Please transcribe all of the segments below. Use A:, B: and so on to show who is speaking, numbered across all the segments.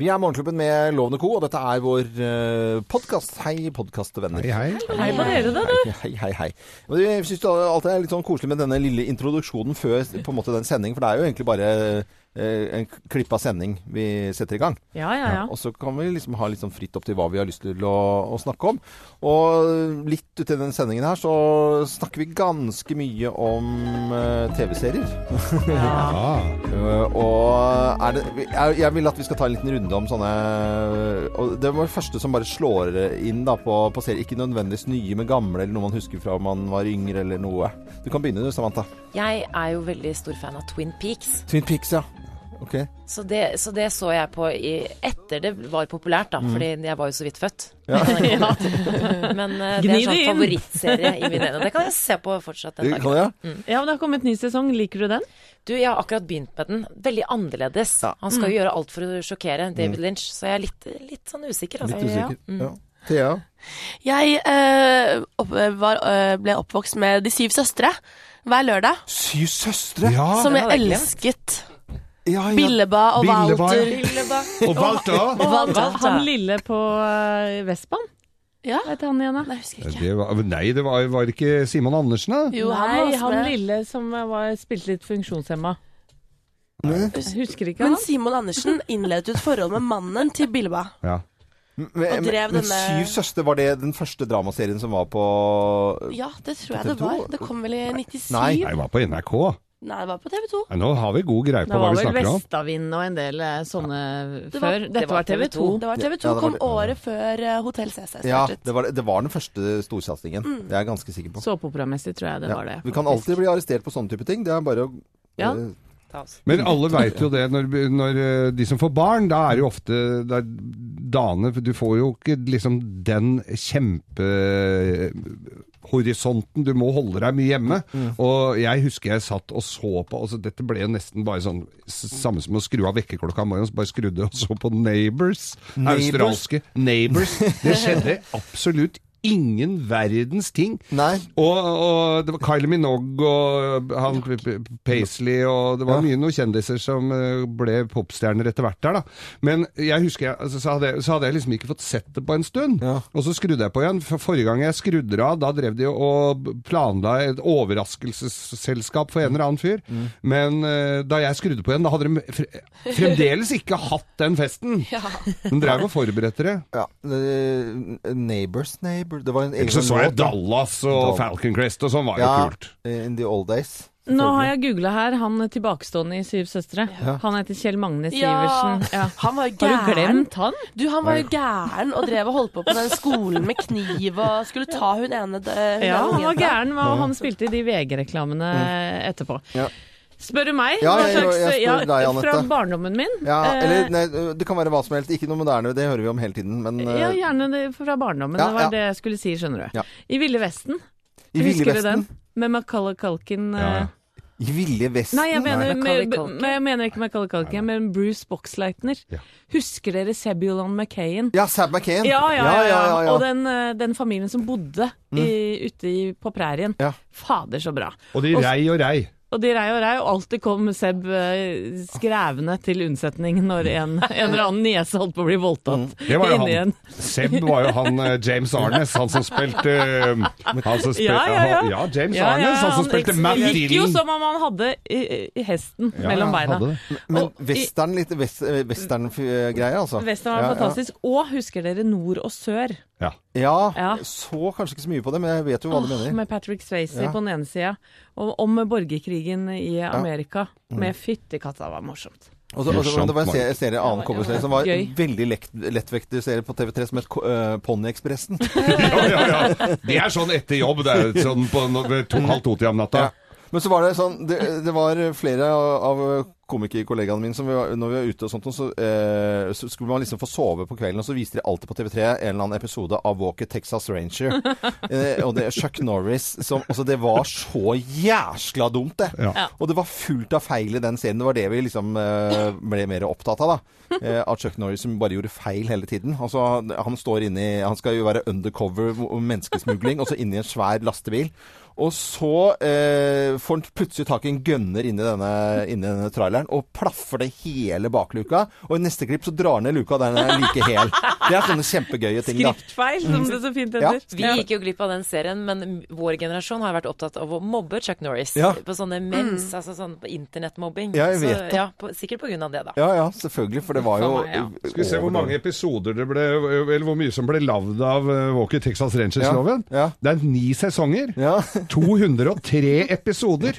A: Vi er Morgenklubben med Lovende Co, og dette er vår uh, podkast. Hei, podkastvenner.
B: Hei, hei.
C: Hei på dere, da, du.
A: Hei, hei, hei. Og Jeg syns alt er litt sånn koselig med denne lille introduksjonen før på en måte den sendingen, for det er jo egentlig bare eh, en klippa sending vi setter i gang.
C: Ja, ja, ja.
A: Og så kan vi liksom ha litt sånn fritt opp til hva vi har lyst til å, å snakke om. Og litt uti den sendingen her så snakker vi ganske mye om eh, TV-serier.
B: Ah,
A: Eh, og er det, jeg, jeg vil at vi skal ta en liten runde om sånne og Det var det første som bare slår inn da på, på serier. Ikke nødvendigvis nye, men gamle, eller noe man husker fra man var yngre, eller noe. Du kan begynne du, Samantha.
C: Jeg er jo veldig stor fan av Twin Peaks,
A: Twin Peaks, ja. Ok.
C: så det så, det så jeg på i, etter det var populært, da,
A: Mm.
C: fordi jeg var jo så vidt født. Ja. Men eh, det er
D: Gni
C: en sånn
D: det inn.
C: favorittserie i min ene. Det kan jeg se på fortsatt en dag.
A: Kan jeg?
D: Ja, men Det har kommet ny sesong. Liker du den?
C: Du, jeg har akkurat begynt med den. Veldig annerledes. Han
D: Mm.
C: skal jo gjøre alt for å sjokkere David Lynch, så jeg er litt, litt sånn usikker. Altså.
A: Mm. Litt usikker. Ja. Thea?
E: Jeg eh, opp, var, eh, ble oppvokst med De syv søstre hver lørdag,
A: Syv søstre!
B: ja.
E: som jeg
C: var veldig
E: elsket.
A: Ja, ja.
E: Billeba og
B: Billeba,
E: Walter.
B: Og Walter.
D: Og han,
C: Walter.
D: han lille på eh, Vestbanen.
E: Ja,
D: Hva heter han igjen, da?
E: Nei, jeg husker ikke.
B: Det var, nei, det var, var det ikke Simon Andersen, da?
E: Jo, han var
D: Nei,
E: også
D: han
E: med.
D: lille som eh, var, spilte litt funksjonshemma. Jeg husker ikke
E: Men
D: han.
E: Simon Andersen innledet jo et forhold med mannen til Billeba.
B: Ja.
E: Og
A: Men,
E: drev
A: men
E: denne-
A: Syv søstre, var det den første dramaserien som var på
E: Ja, det tror jeg
A: På
E: det
A: TV2?
E: var. Det kom vel i 97?
A: Nei.
B: Nei, det var på NRK.
E: Nei, det var på TV 2.
B: Nei, nå har vi god greie på
D: Det
B: hva
D: var
B: vi
D: vel
B: snakker om.
D: Vestavind og en del eh, sånne
E: Det var-
D: før. Dette var TV 2.
E: Det var TV 2
A: Ja, det var
E: kom
A: det.
E: året før eh, Hotell CC
A: Ja,
E: startet.
A: det var, det var den første storsatsingen. Det er jeg ganske sikker på.
D: Såpeoperamessig tror jeg det
A: Ja.
D: var det.
A: Vi kan
D: faktisk.
A: alltid bli arrestert på sånne type ting. Det er bare å
D: Ja.
A: eh,
C: Ta oss.
B: Men alle veit jo det, når, når eh, de som får barn, da er det jo ofte det er dagene Du får jo ikke liksom den kjempehorisonten. Du må holde deg mye hjemme. Og jeg husker jeg satt og så på altså Dette ble jo nesten bare sånn s- Samme som å skru av vekkerklokka om morgenen, så bare skrudde og så på Neighbors.
A: Neighbours?
B: Australske Neighbors. Det skjedde absolutt ingen verdens ting.
A: Nei.
B: Og, og det var Kylie Minogue og han P- P- Paisley og det var mye noen kjendiser som eh, ble popstjerner etter hvert der, da. Men jeg husker jeg, altså, så, hadde jeg, så hadde jeg liksom ikke fått sett det på en stund.
A: Ja.
B: Og så skrudde jeg på igjen. For forrige gang jeg skrudde det av, da drev de og planla et overraskelsesselskap
A: Mm.
B: for en eller annen fyr. Men eh, da jeg skrudde på igjen, da hadde de fre fremdeles ikke hatt den festen. De drev og forberedte det.
A: ja. eh, Neighbors Neighbor Det var en egen
B: Ellers så så jeg
A: låt, da.
B: Dallas og Falcon Crest og sånn, var jo
A: Ja, eh,
B: kult.
A: In the old days.
D: Nå har jeg googla her, han tilbakestående i Syv søstre. Han heter Kjell Magne
E: Ja,
D: Sivertsen. Ja.
E: han var
D: Har du
E: gæren.
D: glemt han?
E: Du, han var jo gæren og drev og holdt på på den skolen med kniv og skulle ta hun ene eh, hun
D: Ja, han var
E: ene ungen fra deg.
D: gæren, og han spilte i de VG-reklamene etterpå.
A: Mm. Ja.
D: Spør du meg?
A: Ja,
D: Hva
A: jeg- jeg
D: slags-
A: spør
D: ja,
A: deg, Anette.
D: Fra barndommen min?
A: Ja,
D: Eh,
A: eller nei, det kan være hva som helst. Ikke noe moderne, det hører vi om hele tiden. Men eh,
D: ja, gjerne det fra barndommen.
A: Ja,
D: det var
A: ja.
D: det jeg skulle si, skjønner du.
A: Ja.
D: I Ville Vesten.
A: i Ville
D: Husker du den?
A: Vesten
D: Med Macaulay Culkin. eh,
B: Ja, ja.
A: I Ville Vesten?
D: Nei, jeg mener,
C: Macaulay
D: med,
C: Culkin?
D: men jeg mener ikke Macaulay Culkin, men Bruce Boxleitner.
B: Ja.
D: Husker dere Sebulon McCain?
A: Ja, Sab McCain.
D: Ja, ja, ja.
A: ja, ja.
D: Og den, eh, den familien som bodde i, ute i, på prærien.
A: Ja.
D: Fader, så bra.
B: Og de
D: Og-
B: rei og rei.
D: Og de rei og rei, og alltid kom Seb eh, skrevne til unnsetning når en, en eller annen niese holdt på å bli voldtatt.
B: Mm. Det var jo
D: Inni
B: han.
D: en-
B: Seb var jo han eh, James Arnes, han som spilte eh, han som spil,
D: Ja, ja, ja.
B: James
D: Ja, ja,
B: Arnes, han som
D: han
B: spilte
D: eks-
B: Matt
D: Gikk jo
B: Dillon.
D: som om han hadde eh, eh, hesten
B: Ja,
D: mellom
B: han
D: beina.
B: hadde det.
A: Men
D: Og i-
A: western, litt vest, western-greie, altså.
D: Western var
A: Ja, ja.
D: fantastisk. Og husker dere Nord og Sør?
B: Ja.
A: Ja,
D: Ja.
A: Så kanskje ikke så mye på det, men jeg vet jo hva du
D: Åh,
A: mener.
D: med Patrick Swayze
A: Ja.
D: på den ene sida, og om borgerkrigen i Amerika.
B: Mm.
D: Med fyttekatta, det var morsomt.
A: Og så, og så,
B: Morsomt,
A: det var en
B: Mark.
A: serie, en serie annen kobberserie som var en
D: Gøy.
A: veldig lett, lettvektig-serie på TV3 som het Ko- eh, Ponnyekspressen.
B: ja, ja, ja. Det er sånn etter jobb, det er sånn på no- ved to, halv to-tida om natta.
A: Ja. Men så var det sånn Det, det var flere av av komikerkollegaene mine som vi var, når vi var ute og sånt, så, eh, så skulle man liksom få sove på kvelden, og så viste de alltid på TV3 en eller annen episode av Walker Texas Ranger. eh, og det er Chuck Norris som Altså, det var så jæskla dumt, det.
B: Ja.
D: Ja.
A: Og det var fullt av feil i den serien. Det var det vi liksom eh, ble mer opptatt av, da. Eh, av Chuck Norris som bare gjorde feil hele tiden. Altså, han står inni Han skal jo være undercover om menneskesmugling, og så inni en svær lastebil. Og så eh, får han plutselig tak i en gønner inni denne, inni denne traileren og plaffer det hele bakluka. Og i neste klipp så drar han ned luka der den er like hel. Det er sånne kjempegøye ting, da.
D: Skriftfeil, som det så fint
A: Ja.
D: heter.
C: Vi gikk jo glipp av den serien, men vår generasjon har vært opptatt av å mobbe Chuck Norris
A: Ja.
C: på sånne mens, altså sånn på internettmobbing.
A: Ja,
C: Så,
A: jeg vet det.
C: ja, på, sikkert på grunn av det, da.
A: Ja ja, selvfølgelig, for det var jo
D: For meg, ja.
B: Skal vi se hvor mange episoder det ble, eller hvor mye som ble lagd av eh, Walker Texas Rangers-loven?
A: Ja, ja.
B: Det er ni sesonger.
A: ja.
B: 203 episoder,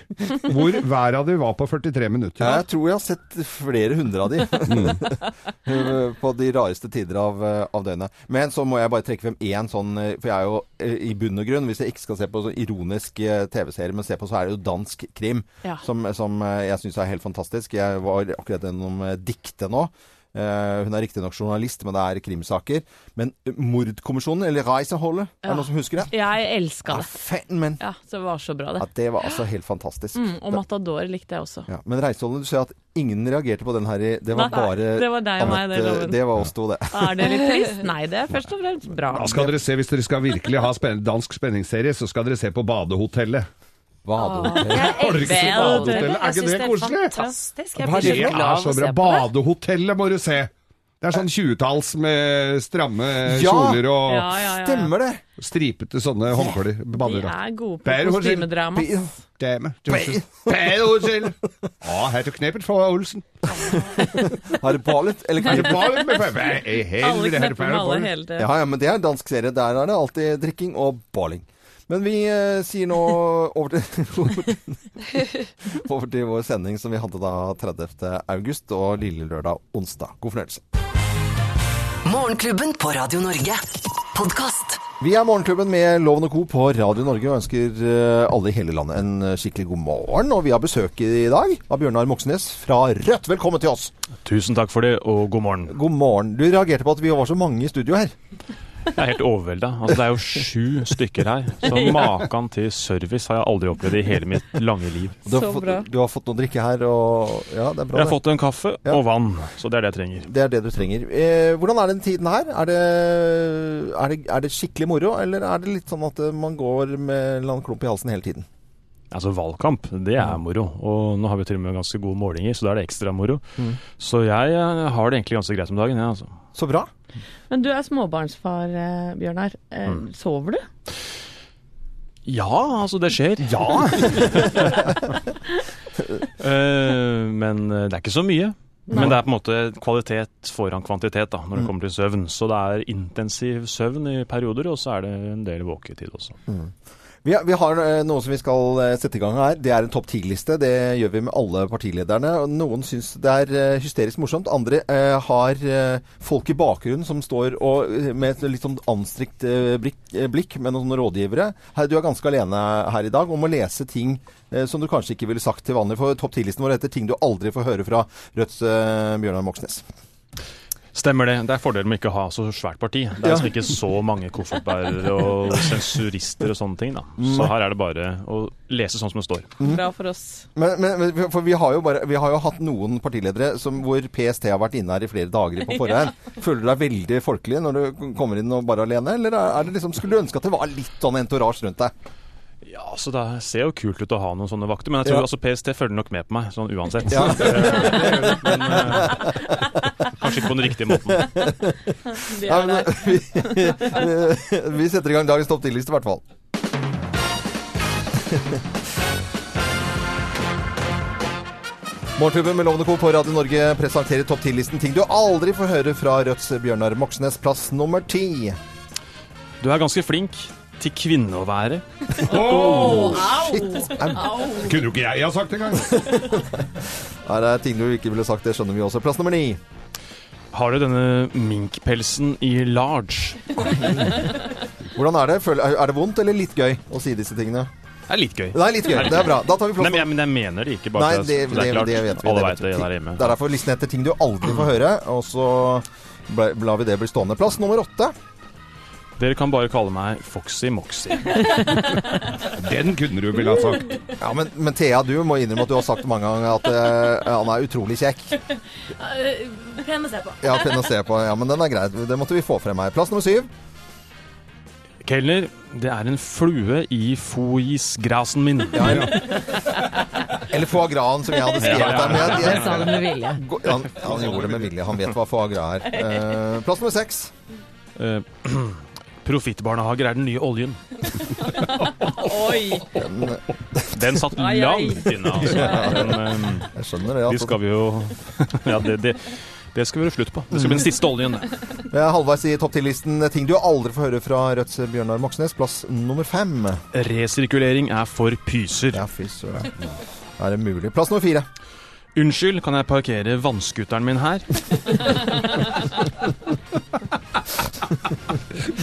B: hvor hver av de var på 43 minutter.
A: Jeg tror jeg har sett flere hundre av de på de rareste tider av, eh, av døgnet. Men så må jeg bare trekke frem én sånn eh, For jeg er jo eh, i bunn og grunn, hvis jeg ikke skal se på sånn ironisk eh, TV-serie, men se på, så er det jo dansk krim.
D: Ja.
A: Som, som eh, jeg syns er helt fantastisk. Jeg var akkurat gjennom eh, diktet nå. Eh, hun er riktignok journalist, men det er krimsaker. Men eh, Mordkommisjonen, eller Reiseholdet, er det noen som husker det?
D: Jeg elska det.
A: Faen, men
D: Ja, så det var så bra, det.
A: ja, Det var altså helt fantastisk.
D: Mm, og Matador likte jeg også.
A: Ja, men Reiseholdet, du ser at ingen reagerte på den her. i- Det var
D: Nei,
A: bare
D: det var deg og meg, det,
A: Anette-
D: Loven.
A: det var oss to, det.
D: Er det litt trist? Nei, det er først og fremst bra.
B: Da skal dere se, Hvis dere skal virkelig ha spen dansk spenningsserie, så skal dere se på Badehotellet.
A: Hva hadde du?
B: Orker
C: Det
B: ikke Badehotellet, er ikke
C: Jeg syns
B: det
C: det er
B: koselig?
C: fantastisk. Jeg
A: Hva
C: blir
A: er
B: Det
A: det
C: så glad
B: er
C: av
B: så bra.
C: å se på det.
B: Badehotellet må du se! Det er sånn 20-talls med stramme
A: Ja.
B: kjoler og
D: Ja, ja, ja.
A: Stemmer det!
B: stripete sånne håndklær.
D: De
B: Bader.
D: er gode på
B: Bærer hos-
D: kostymedrama.
B: Dame. Badehotellet! Å, herr du knepet for Olsen.
A: Har det ballet? Eller
B: Er det
A: knep?
B: bare med Hva i
D: Alle
B: helvete, herre
D: knepper med alle
B: Paul?
D: hele tiden.
A: Ja, ja, men det er en dansk serie. Der er det alltid drikking og balling. Men vi eh, sier nå over til, over til vår sending som vi hadde da 30. august og lille lørdag onsdag. God fornøyelse.
F: Morgenklubben på Radio Norge. Podkast.
A: Vi er Morgenklubben med Loven og Co. på Radio Norge og ønsker eh, alle i hele landet en eh, skikkelig god morgen. Og vi har besøk i dag av Bjørnar Moxnes fra Rødt. Velkommen til oss!
G: Tusen takk for det, og god morgen.
A: God morgen. Du reagerte på at vi var så mange i studio her.
G: Jeg er helt overvelda. Altså, det er jo sju stykker her. Så maken til service har jeg aldri opplevd i hele mitt lange liv.
A: Du har,
D: Så
A: fått,
D: bra.
A: du har fått noe drikke her, og ja, det er bra.
G: Jeg har
A: det.
G: fått en kaffe
A: Ja.
G: og vann, så det er det jeg trenger.
A: Det er det du trenger. Eh, hvordan er den tiden her? Er det, er, det, er det skikkelig moro, eller er det litt sånn at eh, man går med en eller annen klump i halsen hele tiden?
G: Altså, valgkamp, det er moro. Og nå har vi til og med ganske gode målinger, så da er det ekstra moro. Så jeg eh, har det egentlig ganske greit om dagen, jeg, altså.
A: Så bra.
D: Men du er småbarnsfar, eh, Bjørnar. Eh,
B: Mm.
D: Sover du?
G: Ja, altså, det skjer. Ja! men eh, det er ikke så mye. Men det er på en måte kvalitet foran kvantitet da, når det kommer til søvn. Så det er intensiv søvn i perioder, og så er det en del våketid også.
A: Vi, har- vi har eh, noe som vi skal eh, sette i gang her. Det er en topp ti-liste. Det gjør vi med alle partilederne. Og Noen syns det er eh, hysterisk morsomt. Andre eh, har eh, folk i bakgrunnen som står og, eh, med et litt sånn anstrengt eh, blikk, eh, blikk med noen rådgivere. Her, du er ganske alene her i dag om å lese ting eh, som du kanskje ikke ville sagt til vanlig. For topp ti-listen vår heter 'Ting du aldri får høre fra Rødts eh, Bjørnar Moxnes'.
G: Stemmer det. Det er fordelen med ikke å ha så svært parti. Det er
A: Ja.
G: liksom ikke så mange koffertbærere og sensurister og sånne ting, da. Så her er det bare å lese sånn som det står.
D: Bra for oss.
A: Men, men, men for vi har, jo bare, vi har jo hatt noen partiledere som, hvor PST har vært inne her i flere dager på forhånd. Føler du deg veldig folkelig når du kommer inn og bare alene, eller er er det liksom, skulle du ønske at det var litt sånn entorasje rundt deg?
G: Ja, så det ser jo kult ut å ha noen sånne vakter, men jeg
A: Ja.
G: tror altså PST følger nok med på meg, sånn uansett.
A: Ja.
G: Det gjør de, men, eh, kanskje ikke på den riktige måten.
D: Det
A: Ja,
D: er
A: men,
D: der.
A: vi, vi setter i gang dagens topp 10-liste i hvert fall. Morgenklubben med Lovende Co. på Radio Norge presenterer topp 10-listen ting du aldri får høre fra Rødts Bjørnar Moxnes, plass nummer ti.
G: Du er ganske flink til kvinne å være.
A: Shit! Au.
B: Kunne jo ikke jeg ha sagt det engang!
A: Her er ting du ikke ville sagt, det skjønner vi også. Plass nummer ni.
G: Har du denne minkpelsen i large?
A: Hvordan er det? Føl- er- Er det vondt eller litt gøy å si disse tingene?
G: Det er litt gøy.
A: Nei, litt gøy. Det er bra. Da tar vi plass
G: Nei, men jeg, men jeg mener det ikke, bare
A: Nei,
G: for at-
A: det,
G: for
A: det,
G: er klart.
A: det vet vi.
G: Alle
A: det
G: veit
A: vet vi.
G: det der hjemme.
A: Det er derfor listen heter 'Ting du aldri får høre', og så ble- lar vi det bli stående. Plass nummer åtte.
G: Dere kan bare kalle meg Foxy Moxy.
B: Den kunne du ville ha sagt.
A: Ja, men, men Thea, du må innrømme at du har sagt mange ganger at eh, han er utrolig kjekk.
H: Pen å se på.
A: Ja, pen å se på. Ja, men den er greit. Det måtte vi få frem her. Plass nummer syv.
G: Kelner, det er en flue i foisgrasen min.
A: Ja, ja. Eller foie graen, som jeg hadde skrevet
G: Ja, ja, ja.
A: der. Men jeg, jeg,
H: Den sa det med vilje.
A: Gå- Han, han gjorde det med vilje. Han vet hva foie gras er. Eh, plass nummer seks.
G: Eh, Profittbarnehager er den nye oljen.
C: Oi!
A: Den, eh,
G: Den satt
C: Ai, ai.
G: langt inne, altså. Men, eh,
A: jeg skjønner
G: de
A: det. At,
G: skal vi jo Ja, det, det, det skal vi gjøre slutt på. Det skal bli den siste oljen. det.
A: jeg er halvveis i topp 10-listen. Ting du aldri får høre fra Rødts Bjørnar Moxnes. Plass nummer fem.
G: Resirkulering er for pyser.
A: Ja, fy søren. Er det mulig? Plass nummer fire.
G: Unnskyld, kan jeg parkere vannskuteren min her?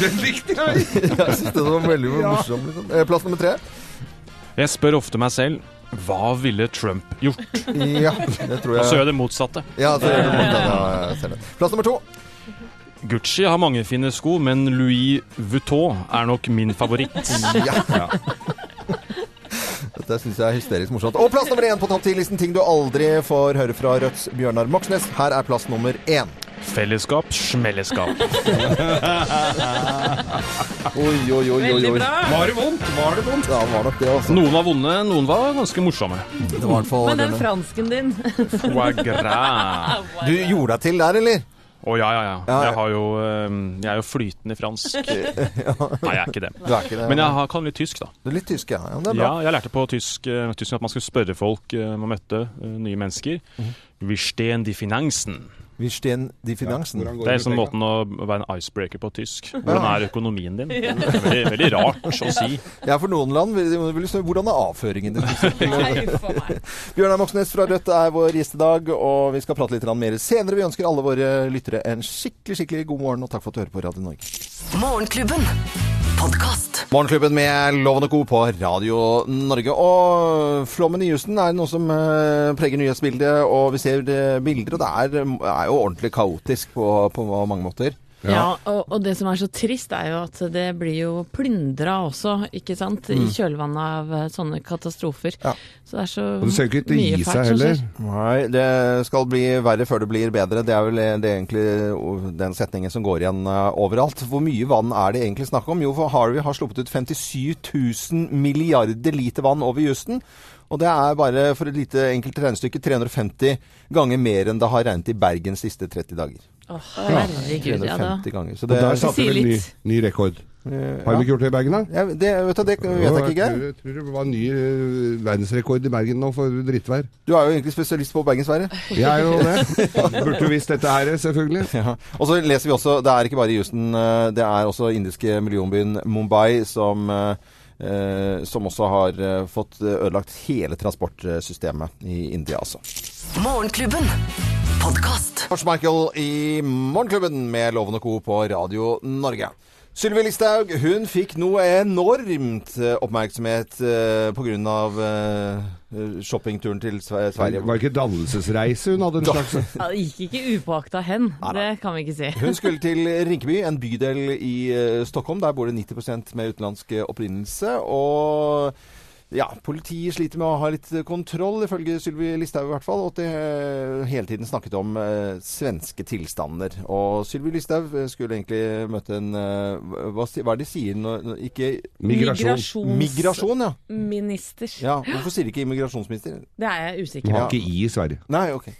B: Den likte jeg!
A: Jeg synes det var veldig morsomt. Liksom. Eh, Plass nummer tre.
G: Jeg spør ofte meg selv hva ville Trump gjort?
A: Ja, det tror
G: Og så
A: jeg.
G: gjør jeg det motsatte.
A: Ja, så gjør du mot den. Ja, jeg ser det. Plass nummer to.
G: Gucci har mange fine sko, men Louis Vuitton er nok min favoritt.
A: Ja. Dette syns jeg er hysterisk morsomt. Og plass nummer én på topp 10-listen. Ting du aldri får høre fra Rødts Bjørnar Moxnes. Her er plass nummer én.
G: Fellesskap, smelleskap.
A: Oi, oi, oi, oi, oi.
B: Var det vondt? Var det vondt?
A: Ja, det var nok det, altså.
G: Noen var vonde, noen var ganske morsomme.
A: Det var i hvert fall
D: Men den
A: denne.
D: fransken din
G: Foie gras.
A: Du gjorde deg til der, eller?
G: Å ja, ja, ja.
A: ja.
G: Jeg, har jo, eh, jeg er jo flytende i fransk. Nei, jeg er ikke det.
A: Du er ikke det?
G: Men jeg har, kan litt tysk, da.
A: Du er litt tysk, ja. ja men det er bra.
G: Ja, jeg lærte på tysk, eh, tysk at man skulle spørre folk eh, man møtte, eh, nye mennesker.
A: Mhm.
G: Vi stehen die Finanzen.
A: Vi stehen die finansen.
B: Hvordan går
G: Det er
B: det
G: liksom
B: med
G: måten å være en icebreaker på tysk. Hvordan er økonomien din? Det er Veldig, veldig rart å si.
A: Ja, for noen land vil vil det stå hvordan er avføringen din. Bjørnar Moxnes fra Rødt er vår gjest i dag, og vi skal prate litt grann mer senere. Vi ønsker alle våre lyttere en skikkelig, skikkelig god morgen, og takk for at du hører på Radio Norge.
F: Morgenklubben. Podkast.
A: Morgenklubben med Loven og Co. på Radio Norge. Og flommen i Houston er noe som eh, preger nyhetsbildet, og vi ser eh, bilder, og det er, er jo ordentlig kaotisk på, på mange måter.
D: Ja, og, og det som er så trist er jo at det blir jo plyndra også, ikke sant?
B: Mm.
D: I kjølvannet av eh, sånne katastrofer.
A: Ja.
D: Så det er så
B: Og det ser jo ikke ut til å
D: mye
B: gi
D: fælt
B: seg
D: som skjer.
B: heller.
A: Nei, det skal bli verre før det blir bedre. Det er vel eh, det er egentlig o- den setningen som går igjen eh, overalt. Hvor mye vann er det egentlig snakk om? Jo, for Harvey har sluppet ut 57 000 milliarder liter vann over Houston. Og det er bare for et lite enkelt regnestykke 350 ganger mer enn det har regnet i Bergen siste 30 dager.
D: Å, herregud, ja da.
A: 350 ganger. Så
B: Og
A: det, sånn-
B: der satte
D: sier
B: vel ny,
D: litt.
B: ny rekord. Har vi ikke gjort det i Bergen, da?
A: ja, det, vet du, det vet jeg ikke, Geir.
B: Jeg tror det var ny eh, verdensrekord i Bergen nå for drittvær.
A: Du er jo egentlig spesialist på bergensværet.
B: Jeg er jo det. Burde jo visst dette her, selvfølgelig.
A: Ja. Og så leser vi også, det er ikke bare Houston, eh, det er også indiske millionbyen Mumbai som, eh, eh, som også har eh, fått ødelagt hele transportsystemet i India, altså.
F: Morgenklubben. Podkast.
A: Lars Michael i Morgenklubben med Loven og Co. på Radio Norge. Sylvi Listhaug hun fikk noe enormt eh, oppmerksomhet eh, på grunn av eh, shoppingturen til Sve-
B: Det
A: Sverige.
B: var ikke dannelsesreise hun hadde en slags
D: Ja, det gikk ikke upåakta hen, det kan vi ikke si.
A: Hun skulle til Rinkeby, en bydel i eh, Stockholm. Der bor det 90 med utenlandsk eh, opprinnelse. Og ja, politiet sliter med å ha litt eh, kontroll, ifølge Sylvi Listhaug i hvert fall. Og at de eh, hele tiden snakket om eh, svenske tilstander. Og Sylvi Listhaug eh, skulle egentlig møte en eh, hva, si- hva er det de sier når når- Ikke
B: migrasjon.
A: migrasjon, ja.
D: Migrasjonsminister.
A: ja. Hvorfor sier de ikke immigrasjonsminister?
D: Det er jeg
B: Hun
D: usikker på.
B: har ikke i i Sverige.
A: Nei, OK.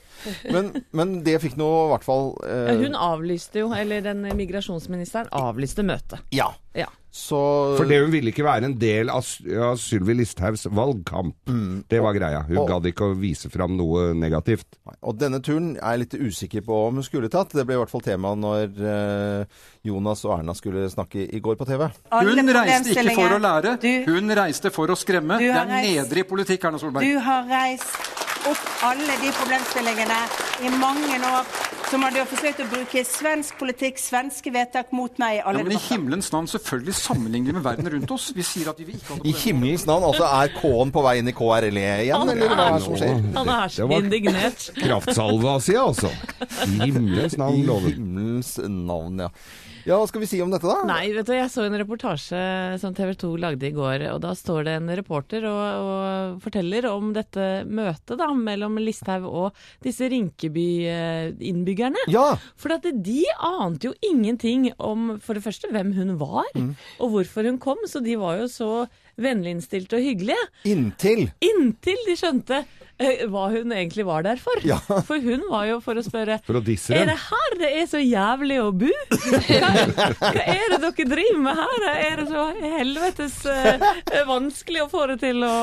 A: Men, men det fikk nå i hvert fall
D: Ja,
A: eh,
D: Hun avlyste jo, eller den migrasjonsministeren avlyste møtet.
A: Ja.
D: Ja.
A: Så
B: For det hun ville ikke være en del av, S- av Sylvi Listhaugs valgkamp. Det var greia. Hun
A: Mm. Og-
B: gadd ikke å vise fram noe negativt.
A: Nei, Og denne turen er jeg litt usikker på om hun skulle tatt. Det ble i hvert fall tema når eh, Jonas og Erna skulle snakke i går på TV.
I: Hun reiste ikke for å lære,
J: Du,
I: hun reiste for å skremme.
J: Du
I: Det
J: har
I: er
J: reist.
I: nedrig politikk, Erna Solberg.
J: du har reist opp alle de problemstillingene i mange år som har du har forsøkt å bruke svensk politikk, svenske vedtak mot meg i
I: Ja,
J: alle
I: men I himmelens navn, selvfølgelig sammenligner vi med verden rundt oss. Vi sier at vi ikke hadde
A: I himmelens navn, altså er K-en på vei inn i KRLE E igjen, eller hva er det som skjer?
D: Han er så
B: Det var-
D: indignert.
B: Kraftsalve av sida, altså. I himmelens
A: I
B: navn, loven.
A: himmelens navn, ja. Ja, hva skal vi si om dette, da?
D: Nei, vet du, jeg så en reportasje som TV 2 lagde i går, og da står det en reporter og, og forteller om dette møtet da, mellom Listhaug og disse Rinkeby-innbyggerne.
A: Ja!
D: For at de ante jo ingenting om for det første hvem hun var,
A: Mm.
D: og hvorfor hun kom, så de var jo så vennliginnstilte og hyggelige.
A: Inntil
D: Inntil de skjønte eh, hva hun egentlig var der for.
A: Ja.
D: For hun var jo for å spørre
B: For å disse
D: er
B: dem.
D: det her det er så jævlig å bo? Hva, hva er det dere driver med her? Er det så helvetes eh, vanskelig å få det til å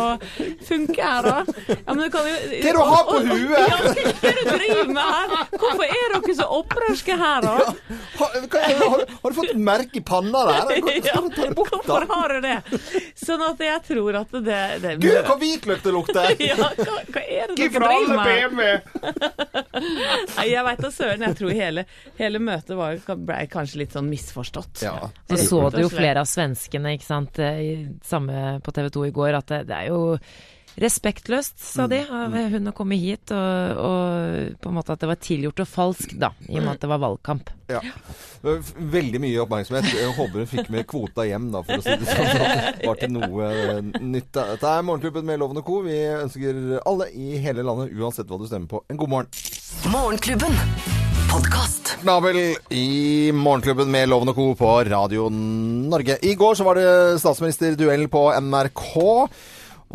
D: funke her, da? Ja, men du kan jo
A: er det å ha på
D: Og- og-
A: huet?
D: Ja, hva er det du driver med her? Hvorfor er dere så opprørske her, da?
A: ja. har, hva er det- har, har du fått merk i panna der?
D: Ja,
A: Skal du ta det bort, da?
D: Hvorfor har du det? Sånn at jeg tror at det, det
A: Gud, hva hvitløk det lukter!
D: ja, hva, hva er det dere driver med? her? Nei, jeg veit da søren. Jeg tror hele, hele møtet var, ble kanskje litt sånn misforstått.
A: Ja.
C: Så så
D: Rett og
C: du jo
D: slett.
C: flere av svenskene ikke sant, i, samme på TV 2 i går, at det, det er jo respektløst, sa de, av hun å komme hit. Og, og på en måte at det var tilgjort og falskt, da, i og med at det var valgkamp.
A: Ja. Veldig mye oppmerksomhet. Jeg håper hun fikk med kvota hjem, da, for å si det sånn. så det Var til noe nytt. Dette er Morgenklubben med Loven og Co. Vi ønsker alle i hele landet, uansett hva du stemmer på, en god morgen.
F: Morgenklubben. Podkast.
A: Knabel i Morgenklubben med Loven og Co. på Radio Norge. I går så var det statsministerduell på NRK.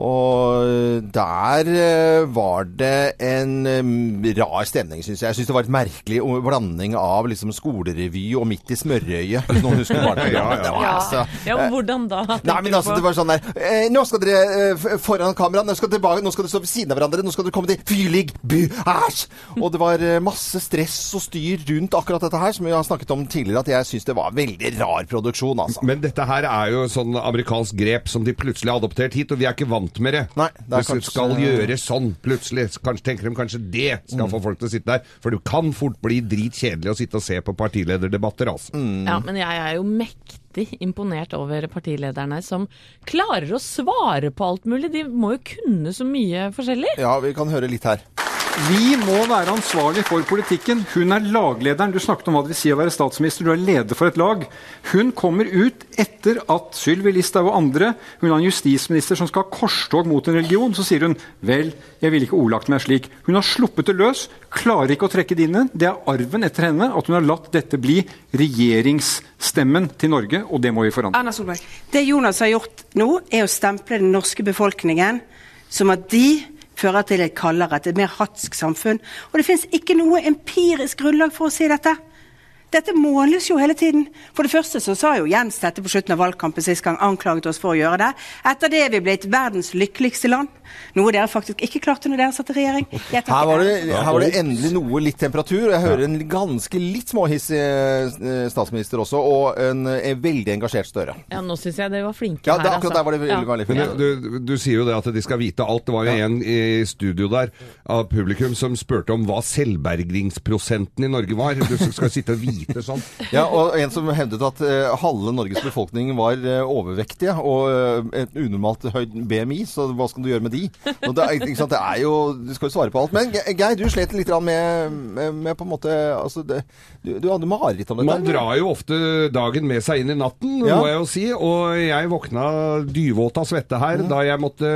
A: Og der eh, var det en eh, rar stemning, syns jeg. Jeg syns det var et merkelig o- blanding av liksom skolerevy og Midt i smørøyet, hvis noen husker barneprogrammet. Det var altså-
D: Ja, men hvordan da?
A: Nei, men altså, det var sånn der eh, Nå skal dere eh, f- foran kameraet, nå skal dere tilbake, nå skal dere stå ved siden av hverandre, nå skal dere komme til Fyrlig by, æsj! Og det var eh, masse stress og styr rundt akkurat dette her, som vi har snakket om tidligere, at jeg syns det var en veldig rar produksjon, altså.
B: Men dette her er jo sånn amerikansk grep som de plutselig har adoptert hit, og vi er ikke vant med det.
A: Nei, det er
B: Hvis
A: kanskje-
B: du skal gjøre sånn plutselig, så kanskje tenker de kanskje det
A: Mm.
B: skal få folk til å sitte der. For det kan fort bli dritkjedelig å sitte og se på partilederdebatter, altså.
A: Mm.
D: Ja, men jeg er jo mektig imponert over partilederne som klarer å svare på alt mulig. De må jo kunne så mye forskjellig.
A: Ja, vi kan høre litt her.
I: Vi må være ansvarlig for politikken. Hun er laglederen. Du snakket om hva det vil si å være statsminister. Du er leder for et lag. Hun kommer ut etter at Sylvi Listhaug og andre Hun har en justisminister som skal ha korstog mot en religion. Så sier hun 'vel, jeg ville ikke ordlagt meg slik'. Hun har sluppet det løs. Klarer ikke å trekke det inn igjen. Det er arven etter henne at hun har latt dette bli regjeringsstemmen til Norge, og det må vi forandre.
J: Erna Solberg. Det Jonas har gjort nå, er å stemple den norske befolkningen som at de fører til et kaldere, et mer hatsk samfunn. Og det finnes ikke noe empirisk grunnlag for å si dette. Dette måles jo hele tiden. For det første så sa jo Jens dette på slutten av valgkampen sist gang, anklaget oss for å gjøre det. Etter det er vi blitt verdens lykkeligste land. Noe dere faktisk ikke klarte når dere satt i regjering. Jeg tar
A: Her var, det,
J: æren.
A: her var det endelig noe litt temperatur. og Jeg hører en ganske litt småhissig eh, statsminister også, og en eh, veldig engasjert Støre.
D: Ja, nå syns jeg dere var flinke
A: Ja, det,
D: her, altså.
A: akkurat der var det veldig, veldig
B: Men
A: fint.
B: du, du, du sier jo det at de skal vite alt. Det var jo en i studio der av publikum som spurte om hva selvbergingsprosenten i Norge var. Du skal sitte og vite sånn.
A: Ja, og en som hevdet at eh, halve Norges befolkning var eh, overvektige og eh, et unormalt høyt BMI, så hva skal du gjøre med de? Og det, er- ikke sant? det er jo, Du skal jo svare på alt. Men Ge- Geir, du slet litt grann med, med, med på en måte altså, det, du, du hadde mareritt om dette?
B: Man drar jo ofte dagen med seg inn i natten,
A: Ja.
B: må jeg jo si. Og jeg våkna dyvåt av svette her da jeg måtte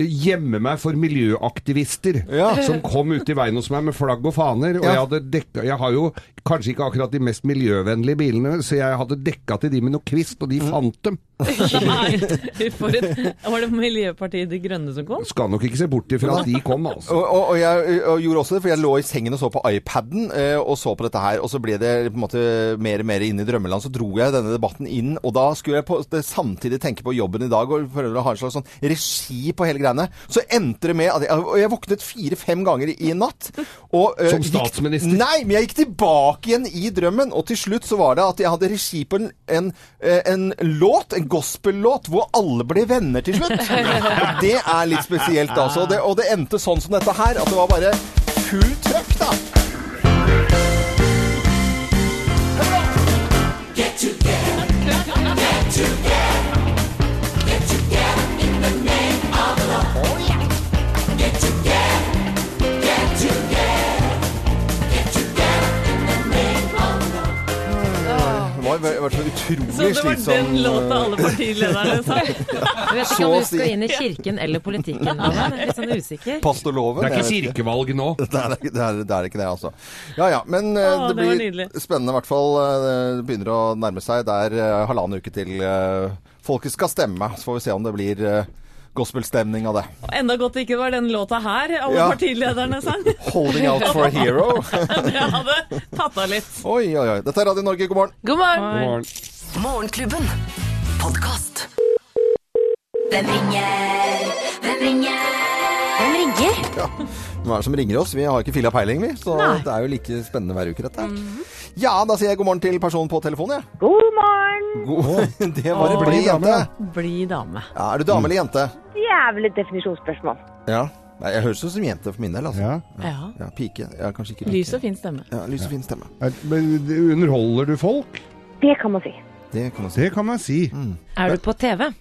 B: gjemme meg for miljøaktivister
A: Ja.
B: som kom ute i veien hos meg med flagg og faner. Og
A: Ja.
B: jeg hadde dekka Jeg har jo kanskje ikke akkurat de mest miljøvennlige bilene, så jeg hadde dekka til de med noe kvist, og de
A: Mm.
B: fant dem.
D: Nei, for et, var det Miljøpartiet De Grønne som kom?
B: Skal nok ikke se bort ifra at de kom, altså.
A: Og, og, og jeg og gjorde også det, for jeg lå i sengen og så på iPaden eh, og så på dette her. Og så ble det på en måte mer og mer inn i drømmeland. Så dro jeg denne debatten inn, og da skulle jeg på, det, samtidig tenke på jobben i dag og prøve å ha en slags sånn regi på hele greiene. Så endte det med at jeg, og jeg våknet fire-fem ganger i en natt. Og, eh,
B: Som
A: gikk-
B: statsminister?
A: nei, men jeg gikk tilbake igjen i drømmen, og til slutt så var det at jeg hadde regi på en, en, eh, en låt, en gospel-låt, hvor alle ble venner til slutt. Og det er litt spesielt, altså. Og det, og det endte sånn som dette her, at det var bare fullt trøkk, da. Det var har vært vært så
D: Så
A: utrolig
D: det var
A: slitsom
D: den låta alle partilederne sa?
C: Jeg vet
A: Så
C: ikke om
A: å
C: du
A: si.
C: skal inn i kirken eller politikken. nå, Jeg er litt sånn usikker.
A: pastorloven.
B: Det er ikke
A: jeg vet
B: kirkevalg nå.
A: Det er, det, er, det er ikke det, altså. Ja ja. Men eh,
D: Å, det
A: det
D: var
A: blir
D: nydelig.
A: spennende i hvert fall. Eh, Det begynner å nærme seg. Det er eh, halvannen uke til eh, folket skal stemme. Så får vi se om det blir eh, gospelstemning av det.
D: Og Enda godt det ikke var den låta her alle
A: Ja.
D: partilederne sang.
A: 'Holding out for a hero'.
D: Det hadde tatt av litt.
A: Oi, oi, oi. Dette er Radio Norge, god morgen.
E: God morgen.
B: God morgen.
F: Morgenklubben. Podkast. Hvem ringer? Hvem ringer? Hvem ringer?
A: Ja. Hvem er det som ringer oss? Vi har ikke filla peiling, vi. Så det er jo like spennende hver uke, dette her. Ja, da sier jeg god morgen til personen på telefonen, jeg.
H: Mhm. God morgen!
A: God. Det var det blid
B: dame, Mm.
A: jente.
B: da.
D: Bli dame.
A: Ja, er du dame eller jente?
H: Jævlig definisjonsspørsmål.
A: Ja. Nei, jeg høres ut som jente for min del, altså.
B: Ja.
D: Ja.
A: Ja, pike. Ja, kanskje ikke pike.
D: Lys og fin stemme.
A: Ja, lys og fin stemme.
B: Er- Men underholder du folk?
H: Det kan man si.
A: Det kan man si.
B: Det kan man si.
C: Er du på TV?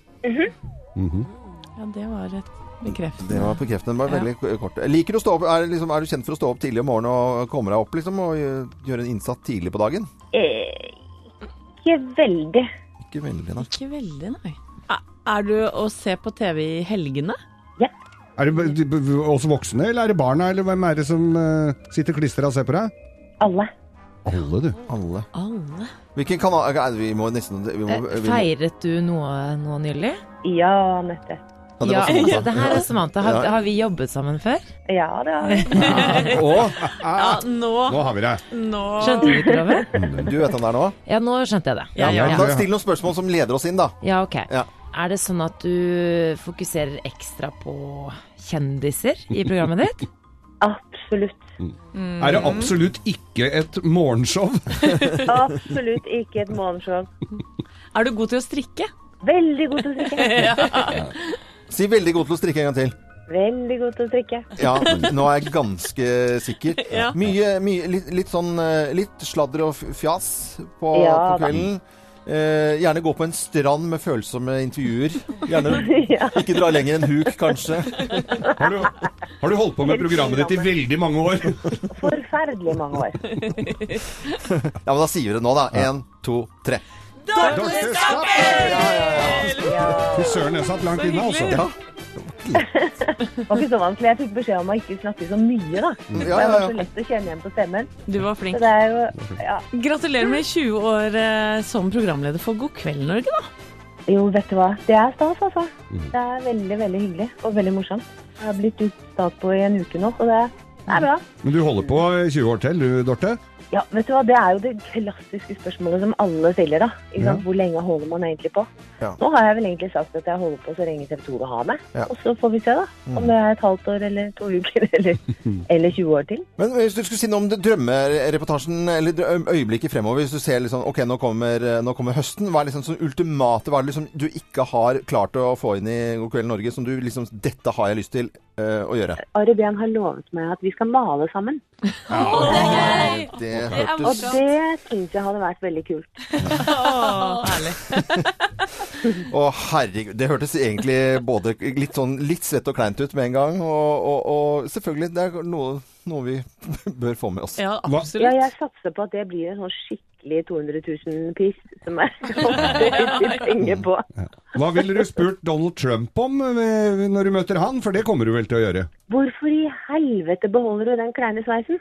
D: Ja, det var et
A: Mhm. Det
D: bekreftende.
A: var bekreftende. Bare
D: Ja.
A: veldig k- kort. Liker du å stå opp? Er, det liksom, er du kjent for å stå opp tidlig om morgenen og komme deg opp, liksom? Og gjø- gjøre en innsats tidlig på dagen?
H: Eh, ikke veldig.
A: Ikke veldig, nei.
D: Ikke veldig, nei. Er- Er du å se på TV i helgene?
B: Er det b- de- b- også voksne, eller er det barna, eller hvem er det som eh, sitter klistra og ser på deg?
H: Alle.
B: Alle, du.
A: Alle.
D: Alle.
A: Hvilken kanal er- Vi må nesten vi må,
C: Eh,
A: vi må,
C: Feiret du noe nå nylig?
H: Ja, Nette.
A: Ja, det
C: Ja,
A: var sånn,
C: det her er Samantha. Har,
A: Ja.
C: har vi jobbet sammen før?
H: Ja, det har jeg.
D: Ja,
B: Ah,
D: nå,
B: nå har vi deg.
D: nå
C: Skjønte du ikke, Loven?
A: Du vet om det er nå?
C: Ja, nå skjønte jeg det.
D: Ja, ja,
A: Men
D: ja.
A: Da Still noen spørsmål som leder oss inn, da.
C: Ja, ok.
A: Ja.
C: Er det sånn at du fokuserer ekstra på kjendiser i programmet ditt?
H: Absolutt.
B: Mm. Er det absolutt ikke et morgenshow?
H: Absolutt ikke et morgenshow.
D: Er du god til å strikke?
H: Veldig god til å strikke.
A: Si veldig god til å strikke en gang til.
H: Veldig god til å strikke.
A: Ja, nå er jeg ganske sikker.
D: Ja.
A: Mye, mye litt, litt sånn eh, Litt sladder og f- fjas på,
H: Ja,
A: på kvelden. Eh, gjerne gå på en strand med følsomme intervjuer. Gjerne
H: Ja.
A: ikke dra lenger enn huk, kanskje.
B: Har du, har du holdt på med programmet ditt i veldig mange år?
H: Forferdelig mange år.
A: Ja, men da sier vi det nå, da. Én, to, tre.
B: Fy søren, jeg satt langt inne, altså.
A: Ja,
H: Det var ikke så vanskelig. Jeg fikk beskjed om å ikke snakke så mye, da. Men
A: ja,
H: det
A: ja.
H: var så
A: ja.
H: lett å kjenne igjen på stemmen.
D: Du var flink.
H: Så det er jo ja.
D: Gratulerer med 20 år eh, som programleder for God kveld, Norge, da.
H: Jo, vet du hva. Det er stas, altså. Det er veldig, veldig hyggelig og veldig morsomt. Jeg har blitt utstat på i en uke nå, så det det er bra.
B: Men du holder på i 20 år til, du, Dorte?
H: Ja, vet du hva, Det er jo det klassiske spørsmålet som alle stiller. da. Ikke sant?
B: Ja.
H: Hvor lenge holder man egentlig på?
A: Ja.
H: Nå har jeg vel egentlig sagt at jeg holder på så lenge TV 2 vil ha meg.
A: Ja. Mm.
H: Og så får vi se da, om det er et halvt år eller to uker eller, eller 20 år til.
A: Men hvis du skulle si noe om det- drømmereportasjen, eller drø- øyeblikket fremover Hvis du ser liksom, ok, nå kommer, eh, nå kommer høsten. Hva er liksom sånn ultimate Hva er det liksom du ikke har klart å få inn i God kveld Norge, som du liksom Dette har jeg lyst til eh, å gjøre.
H: Ari Behn har lovet meg at vi skal male sammen.
A: Det
D: er
A: hørtes
H: Og det syns jeg hadde vært veldig kult.
A: Å, herregud. Det hørtes egentlig både litt, sånn, litt svett og kleint ut med en gang, og, og, og selvfølgelig, det er noe, noe vi bør få med oss.
D: Ja,
B: Hva?
H: Ja,
D: absolutt.
H: jeg satser på at det blir en sånn skikkelig 200 000-pris som jeg kommer penger på.
B: Hva ville du spurt Donald Trump om eh, når du møter han? For det kommer du vel til å gjøre.
H: Hvorfor i helvete beholder du den kleine sveisen?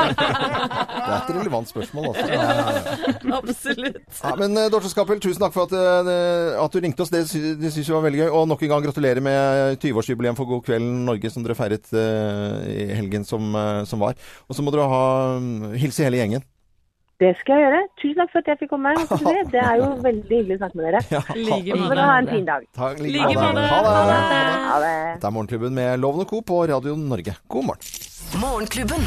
A: Det er et relevant spørsmål, altså. Ja, ja, ja.
D: absolutt.
A: Ja, men eh, Dorte Skappel, tusen takk for at, eh, at du ringte oss. Det, sy det syns vi var veldig gøy. Og nok en gang gratulerer med 20-årsjubileum for God kveld Norge, som dere feiret eh, i helgen som, eh, som var. Og så må dere ha mm, hilse hele gjengen.
H: Det skal jeg gjøre. Tusen takk for at jeg fikk komme. holdt jeg på å si. Det er jo veldig hyggelig å snakke med dere.
A: Ja,
D: Like
H: Og så
D: måte.
H: får dere ha en fin dag.
A: ta- like
D: Like
A: Ha
D: måte.
A: det. Ha det.
D: Ha det.
H: Ha det.
A: Dette er Morgenklubben med Loven og Co. på Radio Norge. God morgen.
F: Morgenklubben.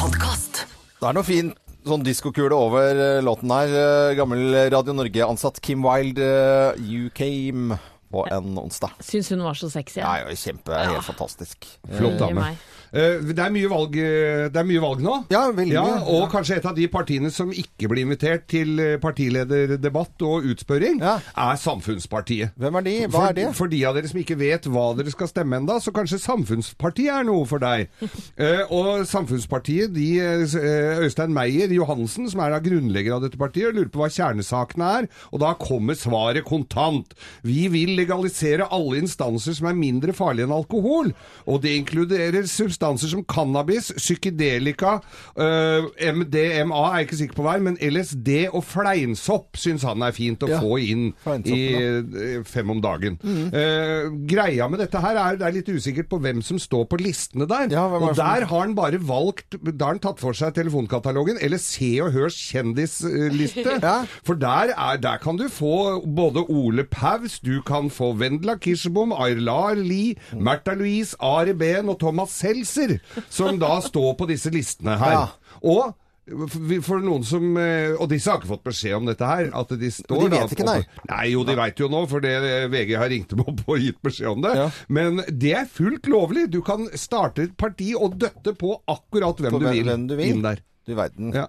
F: Podkast.
A: Det er noe fint sånn diskokule over eh, låten her. Eh, Gammel Radio Norge-ansatt Kim Wilde, eh, You Came, på en onsdag.
D: Syns hun var så sexy.
A: Det
D: jeg.
A: er jo kjempe, helt fantastisk.
B: Flott
D: Gi
B: dame.
D: meg.
B: Eh, Det er mye valg, eh, det er mye valg nå.
A: Ja, veldig
B: Ja,
A: mye.
B: og kanskje et av de partiene som ikke blir invitert til eh, partilederdebatt og utspørring,
A: Ja.
B: er Samfunnspartiet.
A: Hvem er de? Hva er det?
B: For, for de av dere som ikke vet hva dere skal stemme enda, så kanskje Samfunnspartiet er noe for deg. Eh, og Samfunnspartiet, de, eh, Øystein Meier Johansen, som er da grunnlegger av dette partiet, lurer på hva kjernesakene er, og da kommer svaret kontant. Vi vil legalisere alle instanser som er mindre farlige enn alkohol, og det inkluderer substanser som cannabis, psykedelika, eh, MDMA, er jeg ikke sikker på hver, men LSD og fleinsopp syns han er fint å
A: Ja,
B: få inn i
A: fleinsoppen, ja.
B: eh, fem om dagen. Eh, greia med dette her er det er litt usikkert på hvem som står på listene der.
A: Ja, hvem er
B: og
A: det som-
B: der har han bare valgt Da har han tatt for seg telefonkatalogen, eller Se og Hørs kjendisliste.
A: Ja.
B: For der, er, der kan du få både Ole Paus, du kan få Vendela Kirsebom, Aylar Lie, Märtha Louise, Ari Behn og Thomas Seltzer, som da står på disse listene her.
A: Ja.
B: Og for for noen som eh, Og disse har ikke fått beskjed om dette her. At de står
A: Men de
B: da
A: vet ikke,
B: på-
A: nei.
B: Nei, jo, de veit jo nå, for det eh, VG har ringt dem opp og gitt beskjed om det.
A: Ja.
B: Men det er fullt lovlig. Du kan starte et parti og døtte på akkurat hvem,
A: På
B: du,
A: hvem-
B: vil,
A: hvem du vil.
B: inn der.
A: Du verden.
B: Ja,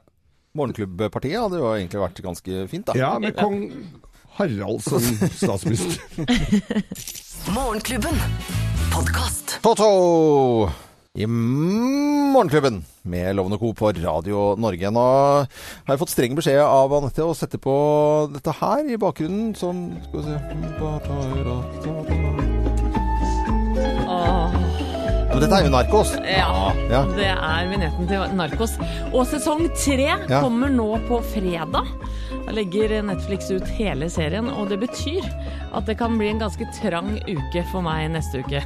A: Morgenklubbpartiet hadde jo egentlig vært ganske fint, da.
B: ja med kong Harald som statsminister.
F: Morgenklubben. Podkast.
A: Toto i Morgenklubben med Lovende Co. på Radio Norge. Nå har jeg fått streng beskjed av Anette å sette på dette her i bakgrunnen som Skal vi se Men dette er jo narkos.
D: Ja,
A: Ja.
D: det er vignetten til Narkos. Og sesong tre
A: Ja.
D: kommer nå på fredag. Da legger Netflix ut hele serien, og det betyr at det kan bli en ganske trang uke for meg neste uke.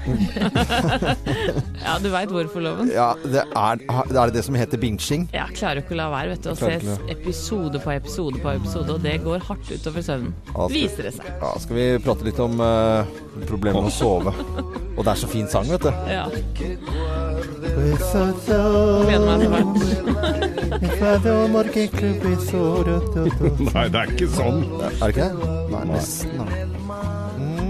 D: ja, du veit hvorfor, Loven.
A: Ja, det er, er det det som heter binging?
D: Jeg klarer ikke å la være vet du, å se
A: klarer ikke det.
D: episode på episode på episode, og det går hardt utover søvnen.
A: Ja, det-
D: Viser det seg.
A: Ja, skal vi prate litt om eh, problemet med å sove? Og det er så fin sang, vet du.
D: Ja. Gleder meg så fælt.
B: Nei, det er ikke sånn.
A: Er det ikke det? Nei, nesten. da.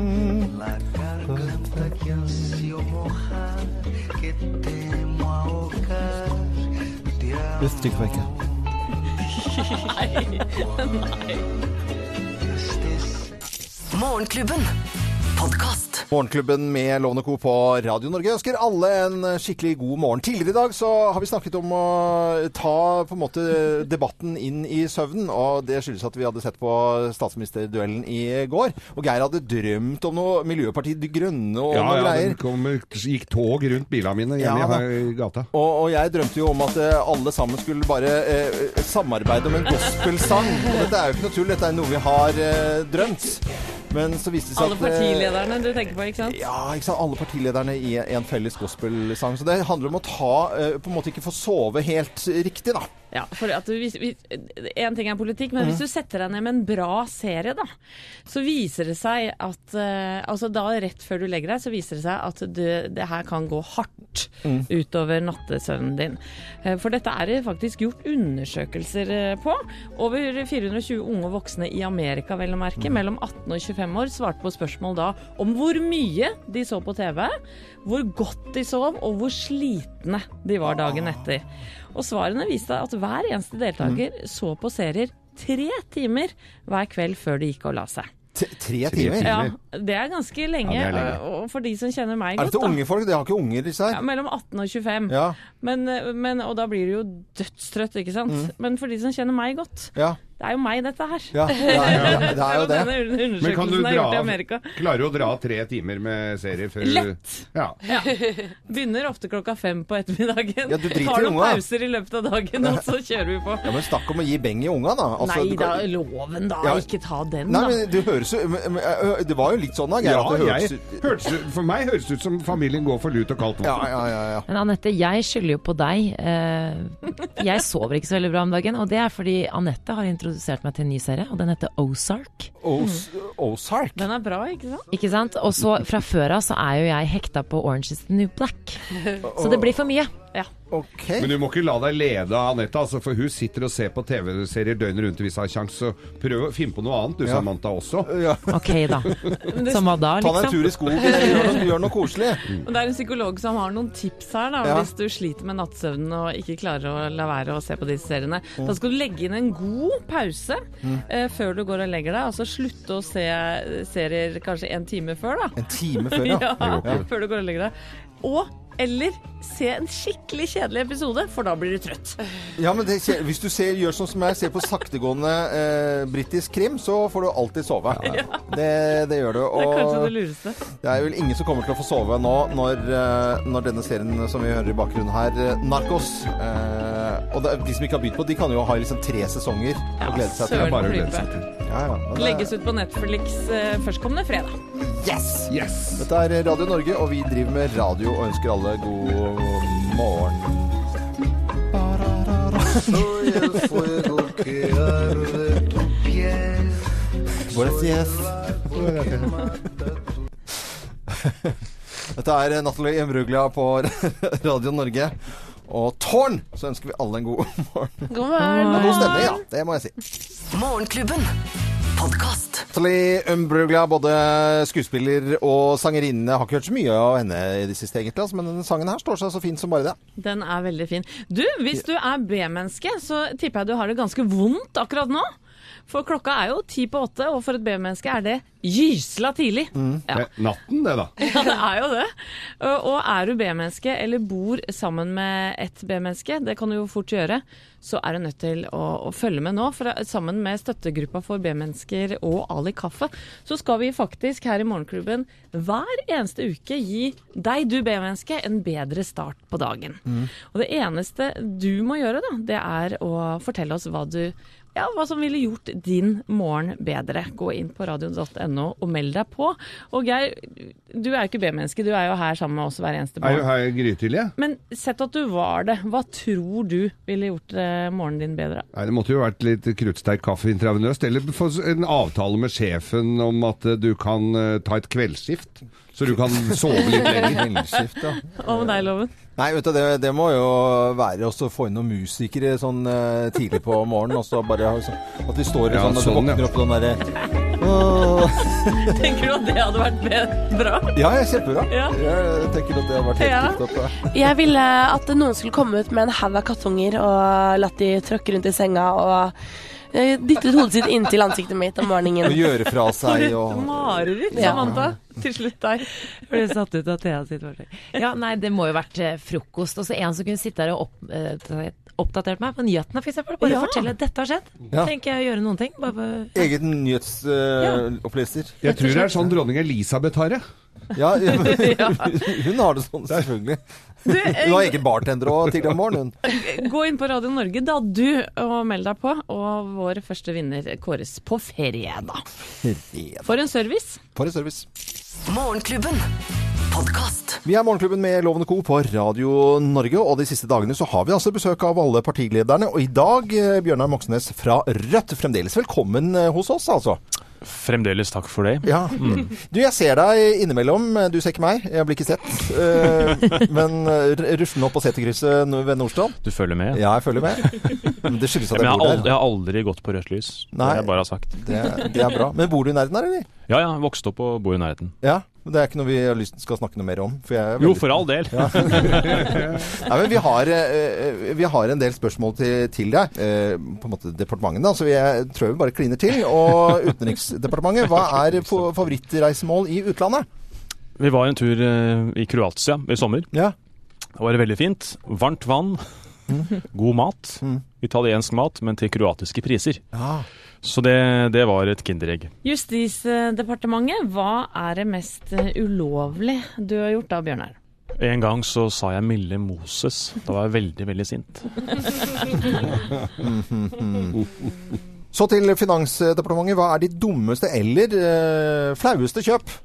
F: Morgenklubben. Podkast.
A: Morgenklubben med Lovende Co. på Radio Norge ønsker alle en skikkelig god morgen. Tidligere i dag så har vi snakket om å ta på en måte debatten inn i søvnen, og det skyldes at vi hadde sett på statsministerduellen i går. Og Geir hadde drømt om noe Miljøpartiet De Grønne og
B: Ja,
A: noe
B: ja, den
A: greier.
B: kom, gikk tog rundt bilene mine
A: Ja,
B: hjemme
A: da.
B: her i gata.
A: Og, og jeg drømte jo om at eh, alle sammen skulle bare eh, samarbeide om en gospelsang. Og dette er jo ikke noe tull, dette er noe vi har eh, drømt. Men så viste det seg
D: Alle
A: at eh,
D: partilederne du tenker på, ikke sant?
A: Ja, ikke sant? alle partilederne i en felles gospelsang. Så det handler om å ta eh, På en måte ikke få sove helt riktig, da.
D: Ja, for at du, hvis, hvis, En ting er politikk, men hvis du setter deg ned med en bra serie, da, så viser det seg at eh, altså da Rett før du legger deg, så viser det seg at du, det her kan gå hardt utover nattesøvnen din. Eh, For dette er det faktisk gjort undersøkelser eh, på. Over 420 unge og voksne i Amerika, vel å merke, mellom 18 og 25 år, svarte på spørsmål da om hvor mye de så på TV, hvor godt de sov, og hvor slitne de var dagen etter. Og svarene viste at hver eneste deltaker
A: Mhm.
D: så på serier tre timer hver kveld før de gikk og la seg.
A: T tre timer.
D: Ja, Det er ganske lenge,
B: Ja, det er lenge.
D: og- og for de som kjenner meg
A: Er
D: godt,
A: dette
D: da.
A: unge folk? De har ikke unger, disse
D: Ja,
A: her.
D: mellom 18 og 25.
A: Ja.
D: Men, men, og da blir du jo dødstrøtt, ikke sant. Men for de som kjenner meg godt,
A: Ja.
D: det er jo meg dette her.
A: Mhm. ja, ja, ja, ja det er jo det.
D: Denne un-
B: Men kan du
D: undersøkelsen er
B: dra,
D: gjort i Amerika.
B: klarer du å dra tre timer med serie før
D: Lett.
B: Ja.
D: Begynner ofte klokka fem på ettermiddagen.
A: Ja, du driter
D: Tar
A: i
D: noen
A: unga.
D: pauser i løpet av dagen, og så kjører vi på.
A: Ja, men snakk om å gi beng i unga, da. Altså,
D: Nei
A: du
D: da,
A: kan-
D: loven da.
A: Ja.
D: Ikke ta den,
A: Nei,
D: da.
A: men du høres jo men- men, ø, Det var jo litt sånn da, Geir.
B: Ja,
A: at det høres
B: jeg, hørtes, ut- for meg høres det ut som familien går for lut og kaldt vann.
A: ja, ja, ja, ja.
C: Men Anette, jeg skylder jo på deg. Eh, Jeg sover ikke så veldig bra om dagen, og det er fordi Anette har introdusert meg til en ny serie, og den heter Ozark.
A: Os
D: Mm.
A: Ozark.
D: Den er bra, ikke sant?
C: Ikke sant? Og så fra før av så er jo jeg hekta på Orange is the New Black. Så det blir for mye.
B: Men du må ikke la deg lede av Anette, altså, for hun sitter og ser på TV-serier døgnet rundt hvis hun har kjangs. Så prøv å finne på noe annet, du, Samantha, også.
C: Ok, da. Som hva da, liksom?
A: Ta deg en tur i skogen, gjør noe, gjør noe koselig.
D: Men det er en psykolog som har noen tips her, da,
A: Ja.
D: hvis du sliter med nattsøvnen og ikke klarer å la være å se på disse seriene. Da skal du legge inn en god pause
A: Mm.
D: eh, før du går og legger deg. Altså slutte å se serier kanskje en time før, da.
A: En time før, ja.
D: ja. Før du går og legger deg. Og eller se en skikkelig kjedelig episode, for da blir du trøtt.
A: Ja, men det, skjer- Hvis du ser, gjør sånn som jeg ser på saktegående eh, britisk krim, så får du alltid sove. Det, det gjør du.
D: Det er kanskje
A: og-
D: det lureste.
A: Det er vel ingen som kommer til å få sove nå når, eh, når denne serien som vi hører i bakgrunnen her, eh, Narcos eh, Og det, er- de som ikke har begynt på, de kan jo ha liksom tre sesonger å glede seg til.
D: søren Bare å glede seg klype.
A: Ja, ja, men det-
D: Legges ut på Netflix eh, førstkommende fredag.
A: Yes! Dette er Radio Norge, og vi driver med radio og ønsker alle god morgen. Buenos dias. Dette er Natalie Imbruglia på Radio Norge. Og Tårn! Så ønsker vi alle en god morgen.
E: God
A: Det er god
E: morgen.
A: stemning, ja. Det må jeg si.
F: Morgenklubben. Podkast.
A: Natalie Umbruglia, både skuespiller og sangerinne, har ikke hørt så mye av henne i det siste, egentlig, altså, men denne sangen her står seg så fint som bare det.
D: Den er veldig fin. Du, hvis du er B-menneske, så tipper jeg du har det ganske vondt akkurat nå. For klokka er jo ti på åtte, og for et B-menneske er det gysla tidlig.
B: Det er Eh, Natten, det, da.
D: Ja, det er jo det. Og og er du B-menneske, eller bor sammen med et B-menneske, det kan du jo fort gjøre, så er du nødt til å, å følge med nå. For eh, sammen med støttegruppa for B-mennesker og Ali Kaffe, så skal vi faktisk her i Morgenklubben hver eneste uke gi deg, du B-menneske, en bedre start på dagen. Og det eneste du må gjøre, da, det er å fortelle oss hva du ja, hva som ville gjort din morgen bedre. Gå inn på radio.no og meld deg på. Og Geir, du er jo ikke B-menneske, du er jo her sammen med oss hver eneste
B: Er jo
D: morgen.
B: her grytidlig. jeg.
D: Men sett at du var det, hva tror du ville gjort eh, morgenen din bedre?
B: Nei, Det måtte jo vært litt kruttsterk kaffe intravenøst. Eller få en avtale med sjefen om at eh, du kan eh, ta et kveldsskift, så du kan sove litt lenger.
A: Kveldsskift, ja.
D: Hva med deg, Loven?
A: Nei, vet du, det, det må jo være også å få inn noen musikere sånn eh, tidlig på morgenen, og så bare ha sånn, at de står i
B: Ja,
A: sånn, og så
B: sånn, ja.
A: våkner opp den derre Åh.
D: Tenker du at det hadde vært be- bra?
A: Ja, jeg er kjempebra.
D: Ja.
A: Jeg tenker at det har vært helt
D: Ja.
A: tipp topp. ja.
E: Jeg ville at noen skulle komme ut med en haug av kattunger og latt de tråkke rundt i senga og eh, dyttet hodet sitt inntil ansiktet mitt om
A: Å
E: morgenen.
A: gjøre fra seg og
D: Mareritt,
E: Ja.
D: Samantha. Til slutt deg.
C: Ble satt ut av Thea sitt fartøy. Ja, nei, det må jo vært eh, frokost. Og så en som kunne sitte her og opp, eh, ta- oppdatert meg på nyhetene, f.eks. Bare
D: Ja.
C: fortelle at dette har skjedd.
A: Ja.
C: Trenger ikke jeg å gjøre noen ting. Bare
A: Eget nyhetsoppleser.
B: Jeg tror det er sånn dronning Elisabeth har det.
A: ja, ja, men hun har det sånn, selvfølgelig.
D: Du, eh,
A: Hun har egen bartender òg tidlig om morgenen. hun.
D: Gå inn på Radio Norge, da du, og meld deg på. Og vår første vinner kåres på fredag. For en service.
A: For en service.
F: Morgenklubben. Podkast.
A: Vi er Morgenklubben med Lovende Co. på Radio Norge, og de siste dagene så har vi altså besøk av alle partilederne. Og i dag, eh, Bjørnar Moxnes fra Rødt, fremdeles velkommen eh, hos oss, altså.
G: Fremdeles takk for det.
A: Ja. Du, jeg ser deg innimellom. Du ser ikke meg, jeg blir ikke sett. Eh, Men eh, ruslende opp på seterkrysset nå ved Nordstrand.
G: Du følger med?
A: Ja, jeg følger med. Men det skyldes at
G: Men jeg har,
A: jeg bor
G: aldri, jeg
A: der.
G: har aldri gått på rødt lys. Det
A: Nei.
G: har jeg bare har sagt.
A: Det, det er bra. Men bor du i nærheten her, eller?
G: Ja, ja. Vokste opp og bor i nærheten.
A: Ja. men Det er ikke noe vi har lyst, skal snakke noe mer om. For jeg er
G: Jo,
A: veldig-
G: for all del.
A: Nei, men vi har, eh, vi har en del spørsmål til, til deg, eh, på en måte departementet, da, så jeg tror vi bare kliner til. Og Utenriksdepartementet, hva er fo- favorittreisemål i utlandet?
G: Vi var en tur eh, i Kroatia i sommer.
A: Ja.
G: Det var veldig fint. Varmt vann, god mat.
A: Mm.
G: Italiensk mat, men til kroatiske priser.
A: Ja.
G: Så det, det var et kinderegg.
D: Justisdepartementet, hva er det mest eh, ulovlig du har gjort da, Bjørnar?
G: En gang så sa jeg Mille Moses. Da var jeg veldig, veldig sint.
A: Så til Finansdepartementet. Hva er de dummeste eller eh, flaueste kjøp?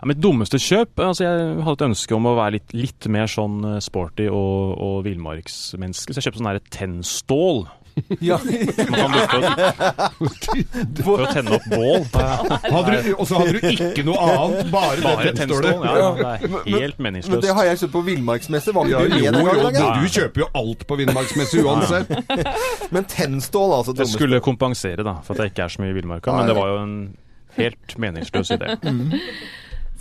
G: Ja, mitt dummeste kjøp altså Jeg hadde et ønske om å være litt, litt mer sånn eh, sporty og, og villmarksmenneske, så jeg kjøpte sånn her tennstål.
A: Ja.
G: Man kan bruke det for å tenne opp bål.
B: Hadde du, og så hadde du ikke noe annet, bare,
G: Bare
B: det
G: tennstål.
B: fremstående.
G: Ja, ja, det er helt
A: Men det
G: meningsløst.
A: har jeg kjøpt på villmarksmesse. Var
B: Ja,
A: ikke det
B: jo,
A: med den
B: jo,
A: gangen?
B: du,
A: da?
B: du kjøper jo alt på Villmarksmesse uansett.
A: Men tennstål, altså.
G: Jeg
A: Trommestål.
G: skulle kompensere da, for at jeg ikke er så mye i villmarka, men det var jo en helt meningsløs idé.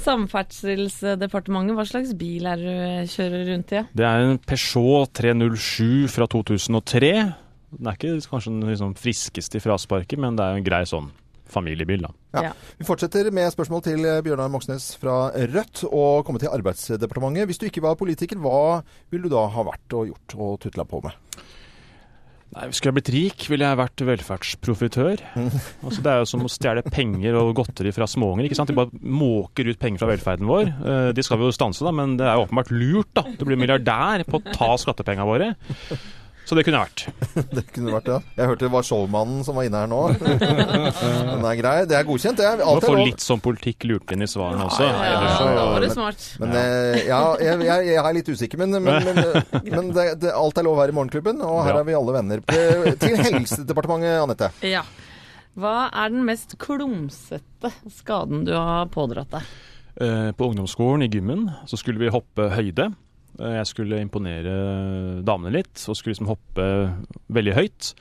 D: Samferdselsdepartementet, hva slags bil er det du kjører rundt i?
G: Det er en Peugeot 307 fra 2003. Den er ikke kanskje den liksom friskeste i frasparket, men det er jo en grei sånn familiebil, da.
A: Vi fortsetter med spørsmål til eh, Bjørnar Moxnes fra Rødt og kommer til Arbeidsdepartementet. Hvis du ikke var politiker, hva ville du da ha vært og gjort og tutla på med?
G: Nei, Skulle jeg blitt rik, ville jeg vært velferdsprofitør. Altså, det er jo som å stjele penger og godteri fra småunger. ikke sant? De bare måker ut penger fra velferden vår. Eh, De skal vi jo stanse, da, men det er jo åpenbart lurt. da. Du blir milliardær på å ta skattepengene våre. Så det kunne jeg vært.
A: Det kunne vært det. Jeg hørte det var showmannen som var inne her nå. Den er grei. Det er godkjent, det. er
G: Må
A: Alt
G: få
A: er lov.
G: litt sånn politikk lurt inn i svarene også.
A: da var
D: var
A: det
D: det smart.
A: Men eh, ja, jeg, jeg, jeg er litt usikker, men, men, men, eh, men det, det, alt er lov her i Morgenklubben, og her
G: Bra.
A: er vi alle venner. Eh, Til Helsedepartementet, Anette.
D: Ja. Hva er den mest klumsete skaden du har pådratt deg?
G: Eh, På ungdomsskolen i gymmen så skulle vi hoppe høyde. Eh, Jeg skulle imponere damene litt og skulle liksom hoppe veldig høyt.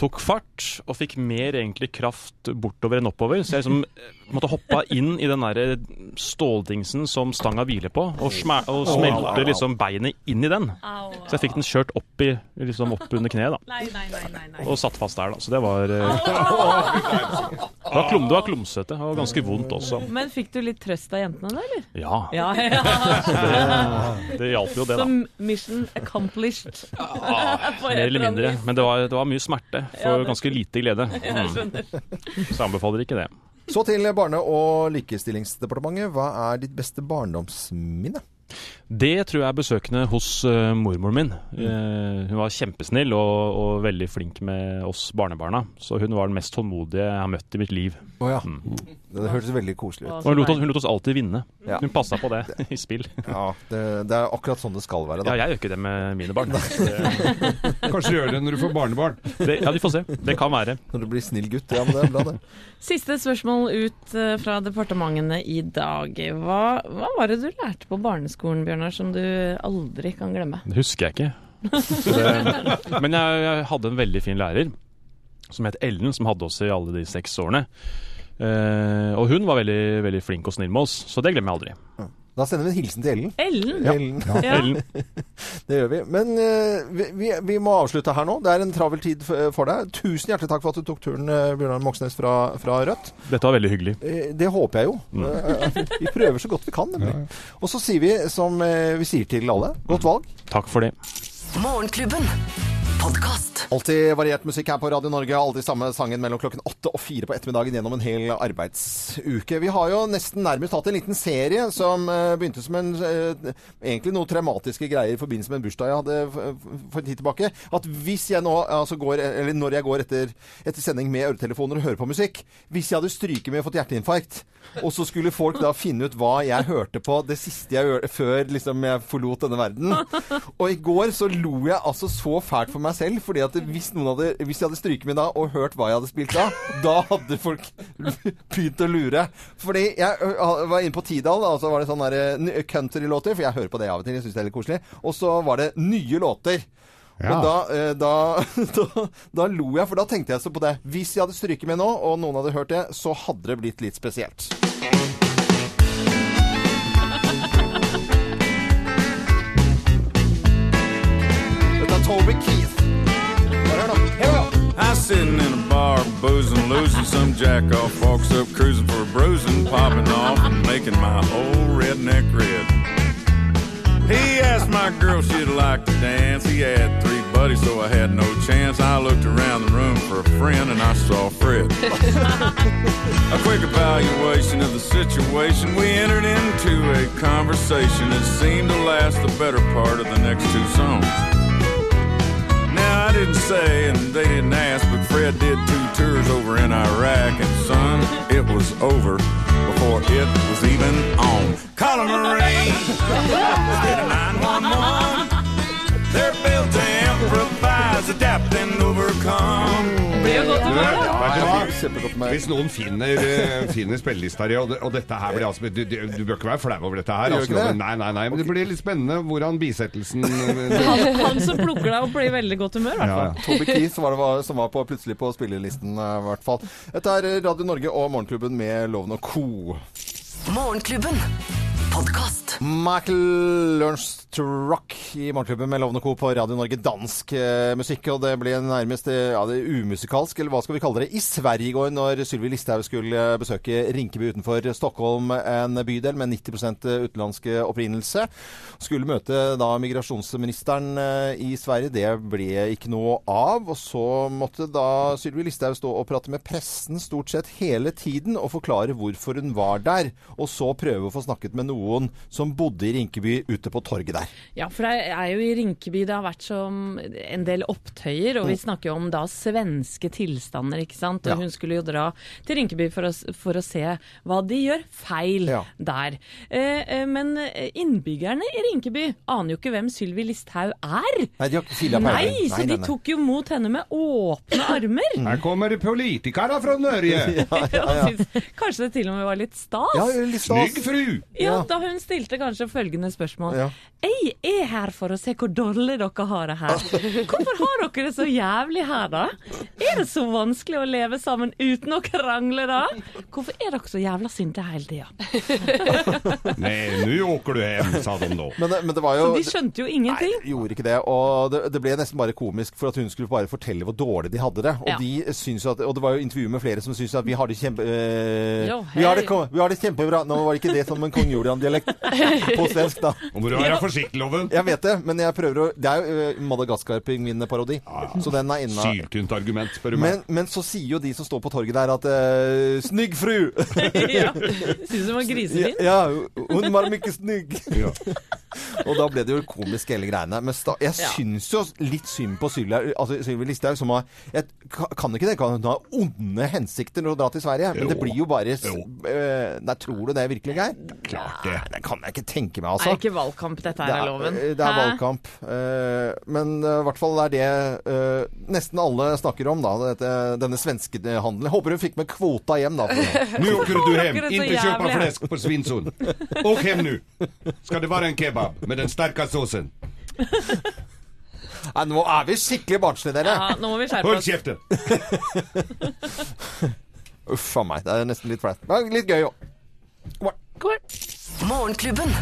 G: Tok fart og fikk mer egentlig kraft bortover enn oppover. Så jeg liksom eh, måtte hoppa inn i den der eh, ståldingsen som stanga hviler på, og, smer- og smelte liksom beinet inn i den. Så jeg fikk den kjørt opp, i, liksom opp under kneet, da.
D: Nei, nei, nei, nei, nei.
G: Og satt fast der, da. Så det var eh, Det var, klum, det var klumsete og ganske vondt også.
D: Men fikk du litt trøst av jentene da, eller?
G: Ja,
D: Ja, ja.
G: det hjalp jo det, da.
D: Så mission accomplished.
G: Mer eller mindre. Men det var, det var mye smerte
D: Ja,
G: for
D: det-
G: ganske lite glede. Mm. Så jeg anbefaler ikke det.
A: Så til Barne- og likestillingsdepartementet. Hva er ditt beste barndomsminne?
G: Det tror jeg er besøkende hos eh, mormoren min. Eh, hun var kjempesnill og, og veldig flink med oss barnebarna. Så hun var den mest tålmodige jeg har møtt i mitt liv. Mm.
A: Å ja.
D: Altså
A: Det hørtes veldig koselig ut.
G: Og hun lot, oss- hun lot oss alltid vinne.
A: Ja.
G: Hun passa på det i spill.
A: Ja, det, det er akkurat sånn det skal være.
G: Ja,
A: Da.
G: jeg gjør ikke det med mine barn. Det,
B: Kanskje du gjør det når du får barnebarn.
G: det, ja, vi får se. Det kan være.
A: Når du blir snill gutt. Ja, men det er bra, det.
D: Siste spørsmål ut eh, fra departementene i dag. Hva, hva var det du lærte på barneskolen, Bjørnar, som du aldri kan glemme?
G: Det husker jeg ikke. Så det, men jeg, jeg hadde en veldig fin lærer som het Ellen, som hadde oss i alle de seks årene. Eh, og hun var veldig, veldig flink og snill med oss, så det glemmer jeg aldri.
A: Da sender vi en hilsen til Ellen.
D: Ellen!
A: Ellen.
D: Ja.
G: Ellen,
A: Det gjør vi. Men eh, vi, vi, vi må avslutte her nå. Det er en travel tid for, for deg. Tusen hjertelig takk for at du tok turen, eh, Bjørnar Moxnes fra, fra Rødt.
G: dette var veldig hyggelig.
A: Eh, Det håper jeg jo.
D: Mm.
A: Eh, Vi prøver så godt vi kan, nemlig. Og så sier vi som eh, vi sier til alle, godt valg.
G: Takk for det.
F: Morgenklubben. Podkast.
A: Alltid variert musikk her på Radio Norge. Alltid samme sangen mellom klokken åtte og fire på ettermiddagen gjennom en hel arbeidsuke. Vi har jo nesten nærmest hatt en liten serie som eh, begynte som en eh, egentlig noe traumatiske greier i forbindelse med en bursdag jeg hadde for, for en tid tilbake. At hvis jeg nå, altså går, eller når jeg går etter, etter sending med øretelefoner og hører på musikk Hvis jeg hadde stryket med og fått hjerteinfarkt, og så skulle folk da finne ut hva jeg hørte på det siste jeg gjør, før liksom jeg forlot denne verden. Og i går så lo jeg altså så fælt for meg selv, fordi at hvis, noen hadde, hvis jeg hadde stryket meg da og hørt hva jeg hadde spilt da, da hadde folk begynt å lure. Fordi jeg ø, var inne på Tidal, og så var det sånne der, eh, ny- countrylåter, for jeg hører på det av og til, jeg syns det er litt koselig. Og så var det nye låter. Og da, eh, da, da, da lo jeg, for da tenkte jeg så på det. Hvis jeg hadde stryket med nå, og noen hadde hørt det, så hadde det blitt litt spesielt. Dette er Toby Keith. Bare hør nå. Here we go.
K: I sitting in a bar, boozing, losing. Some jack off walks up, cruising for a bruising, popping off and making my old redneck red. He asked my girl if she'd like to dance. He had three buddies, so I had no chance. I looked around the room for a friend and I saw Fred. A quick evaluation of the situation, we entered into a conversation that seemed to last the better part of the next two songs. Now I didn't say and they didn't ask, but Fred did two tours over in Iraq, and son, it was over before it was even on. Call 'em a rain, instead of 911. They're built to improvise, adapt and overcome. come.
B: Hvis noen finner, eh, finner spillelista di, og, det- og dette her blir altså Du, du, du bør ikke være flau over dette her.
A: Gjør
B: Altså,
A: ikke det?
B: Nei, nei, nei, men det blir litt spennende hvordan bisettelsen eh,
D: Han, han som plukker deg opp, blir i veldig godt humør, i hvert fall.
A: Toby Keith var det var, som var på, plutselig på spillelisten, eh, i hvert fall. Dette er eh, Radio Norge og Morgenklubben med Loven og co.
F: Morgenklubben. Podkast.
A: Michael Lernstruck i Morgenklubben med Loven og Co. på Radio Norge. Dansk eh, musikk. Og det ble nærmest eh, ja, det er umusikalsk, eller hva skal vi kalle det, i Sverige i går når Sylvi Listhaug skulle eh, besøke Rinkeby utenfor Stockholm, en bydel med 90 utenlandsk eh, opprinnelse. Skulle møte da migrasjonsministeren eh, i Sverige. Det ble ikke noe av. Og så måtte da Sylvi Listhaug stå og prate med pressen stort sett hele tiden og forklare hvorfor hun var der. Og så prøve å få snakket med noen som bodde i Rinkeby ute på torget der.
D: Ja, for det er jo i Rinkeby det har vært som en del opptøyer, og vi snakker jo om da svenske tilstander, ikke sant. Og
L: Ja.
D: hun skulle jo dra til Rinkeby for å, s- for å se hva de gjør feil der. Eh, eh, men innbyggerne i Rinkeby aner jo ikke hvem Sylvi Listhaug er.
A: Nei, de har ikke filla
D: Nei, Mm.
A: peiling.
D: så de tok jo mot henne med åpne armer.
B: Her kommer politikere fra Norge!
D: Kanskje det til og med var litt stas?
B: Ja, litt stas. Snygg fru!
D: Ja,
B: Ja.
D: da hun stilte kanskje følgende spørsmål.
B: Ja.
D: Jeg er her for å se hvor dårlig dere har det her. Hvorfor har dere det så jævlig her, da? Er det så vanskelig å leve sammen uten å krangle, da? Hvorfor er dere så jævla sinte hele tida?
B: Nei, nå åker du hjem, sa de da.
A: Men, det- men det var jo
D: Så de skjønte jo ingenting.
A: Gjorde ikke det. Og det, det ble nesten bare komisk for at hun skulle bare fortelle hvor dårlig de hadde det. Og,
D: Ja.
A: de syns jo at, og det var jo intervju med flere som syntes at vi har det kjempe... eh,
D: Jo,
A: vi, har det,
D: hei.
A: kom- vi har det kjempebra. Nå var det ikke det som en kong Julian-dialekt på svensk, da.
B: Nå må du være forsiktig, Loven.
A: Jeg vet det, men jeg prøver å Det er jo eh, Madagaskar-pingvinene-parodi. Så den er inna.
B: Syltynt argument, spør du
A: Men,
B: meg.
A: men så sier jo de som står på torget der at eh, Snygg fru!
D: ja. Syns hun var grisefin.
A: Ja, ja, hun var mye snygg.
B: Ja.
A: Og da ble det jo komisk hele greiene. Men sta, jeg
D: Ja.
A: syns jo litt synd på Sylvi altså Sylvi Listhaug, som har Jeg ka- kan ikke tenke at hun har onde hensikter når hun drar til Sverige, men det
B: Jo.
A: blir jo bare s-
B: Jo.
A: eh, Nei, tror du det er virkelig, Geir?
B: Klart det.
A: Det kan jeg ikke tenke meg,
D: Er
A: altså.
D: det ikke valgkamp dette her, er loven?
A: eh, det er valgkamp. Eh, men eh, i hvert fall er det eh, nesten alle snakker om, da. Dette, denne svenskehandelen. Håper hun fikk med kvota hjem, da. for-
B: Nå åker du hjem!
A: Åker det så
B: Ikke kjøp
A: jævlig.
B: flesk på Svinesund. Åk hjem nå! Skal det være en kebab med den sterke sausen?
A: Nei, nå er vi skikkelig barnslige, dere.
D: Ja, nå må vi skjerpe
B: Hold
D: oss.
B: kjeften!
A: Uff a meg. Det er nesten litt flaut. Men litt gøy òg.
F: Morgenklubben.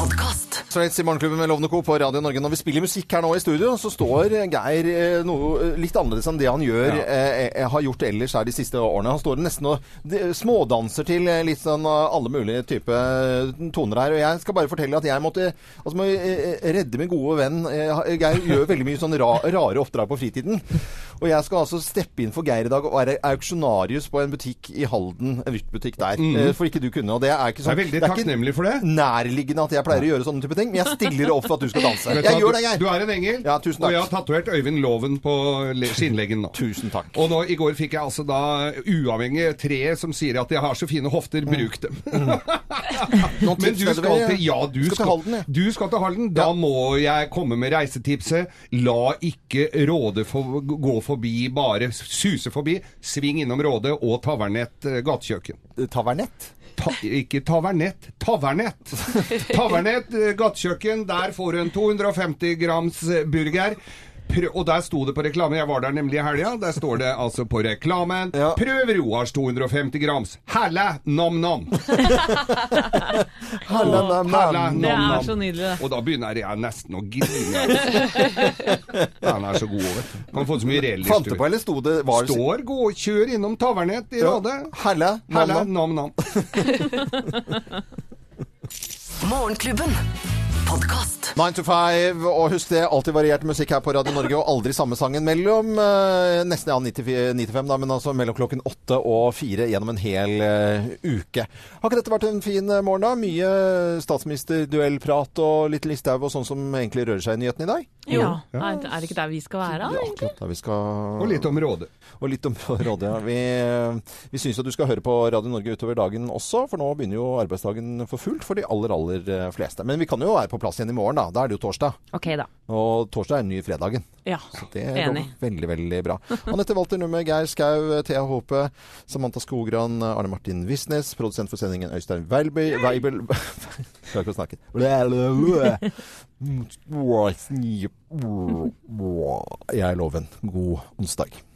F: Podkast.
A: Straits i Morgenklubben med Lovende Co. på Radio Norge. Når vi spiller musikk her nå i studio, så står Geir eh, noe eh, litt annerledes enn det han gjør,
B: Ja.
A: eh, eh, har gjort ellers her de siste årene. Han står nesten og de- smådanser til eh, litt sånn eh, alle mulige type eh, toner her. Og jeg skal bare fortelle at jeg måtte altså, må eh, eh, redde min gode venn eh, Geir. Gjør veldig mye sånn ra, rare oppdrag på fritiden. Og jeg skal altså steppe inn for Geir i dag og være auksjonarius på en butikk i Halden. En Vyrt-butikk der.
B: Mhm.
A: Eh, For ikke du kunne. Og det er ikke sånn
B: Jeg er veldig
A: ikke
B: takknemlig for det.
A: Nærliggende at jeg pleier å gjøre sånne type ting, men jeg stiller opp for at du skal danse.
B: Vet du hva,
A: Jeg gjør det,
B: du-
A: Geir.
B: Du er en engel,
A: Ja, tusen
B: og jeg
A: takk.
B: har tatovert Øyvind Loven på le- skinnleggen nå.
A: Tusen takk.
B: Og nå, i går fikk jeg altså da uavhengig tre som sier at jeg har så fine hofter, bruk dem.
A: Noen
B: Men du
A: tips er det
B: skal
A: vel-
B: til Ja, du
A: skal til Halden,
B: skal, du skal til Halden. Da må jeg komme med reisetipset. La ikke Råde for, gå forbi, bare suse forbi. Sving innom Råde og Tavernett eh, gatekjøkken.
A: Tavernett?
B: Ta, ikke Tavernett, Tavernett! Tavernett eh, gatekjøkken, der får du en 250 grams eh, burger. Prø- Og der sto det på reklame, jeg var der nemlig i helga, der står det altså på reklamen Prøv Roars 250 grams, halla nam-nam!
A: Halla, nam, nam.
B: Halla, nam,
A: Det er
B: nam.
A: så nydelig, det.
B: Og da begynner jeg nesten å grine. Han er så god, vet du. Kan få så mye reell
A: Fant det på, eller sto det var det-
B: Står, gå, kjør innom Tavernett i
A: Ja.
B: Råde.
A: Halla, nam,
B: Halla,
A: nam.
B: nam-nam.
F: Morgenklubben. Podkast.
A: Nine to five, og husk det, alltid variert musikk her på Radio Norge, og aldri samme sangen mellom eh, nesten ja, 94 95, da, men altså mellom klokken åtte og fire gjennom en hel eh, uke. Har ikke dette vært en fin eh, morgen, da? Mye statsministerduellprat og litt Listhaug og sånn som egentlig rører seg i nyhetene i dag?
D: Ja. Er er det ikke der vi skal være, da?
A: Akkurat der vi skal...
B: Og litt om Råde.
A: Og litt om Råde, ja. Vi, vi syns jo du skal høre på Radio Norge utover dagen også, for nå begynner jo arbeidsdagen for fullt for de aller, aller eh, fleste. Men vi kan jo være på på plass igjen i morgen. Da Da er det jo torsdag.
C: Ok, da.
A: Og torsdag er den nye fredagen.
C: Ja,
A: Så det
C: enig.
A: går veldig, veldig bra. Anette Walter Numme, Geir Skau, eh, Thea Håpe, Samantha Skogran, Arne Martin Visnes, produsent for sendingen Øystein Weibel Weibel Klarer ikke å snakke. Jeg er Loven. God onsdag.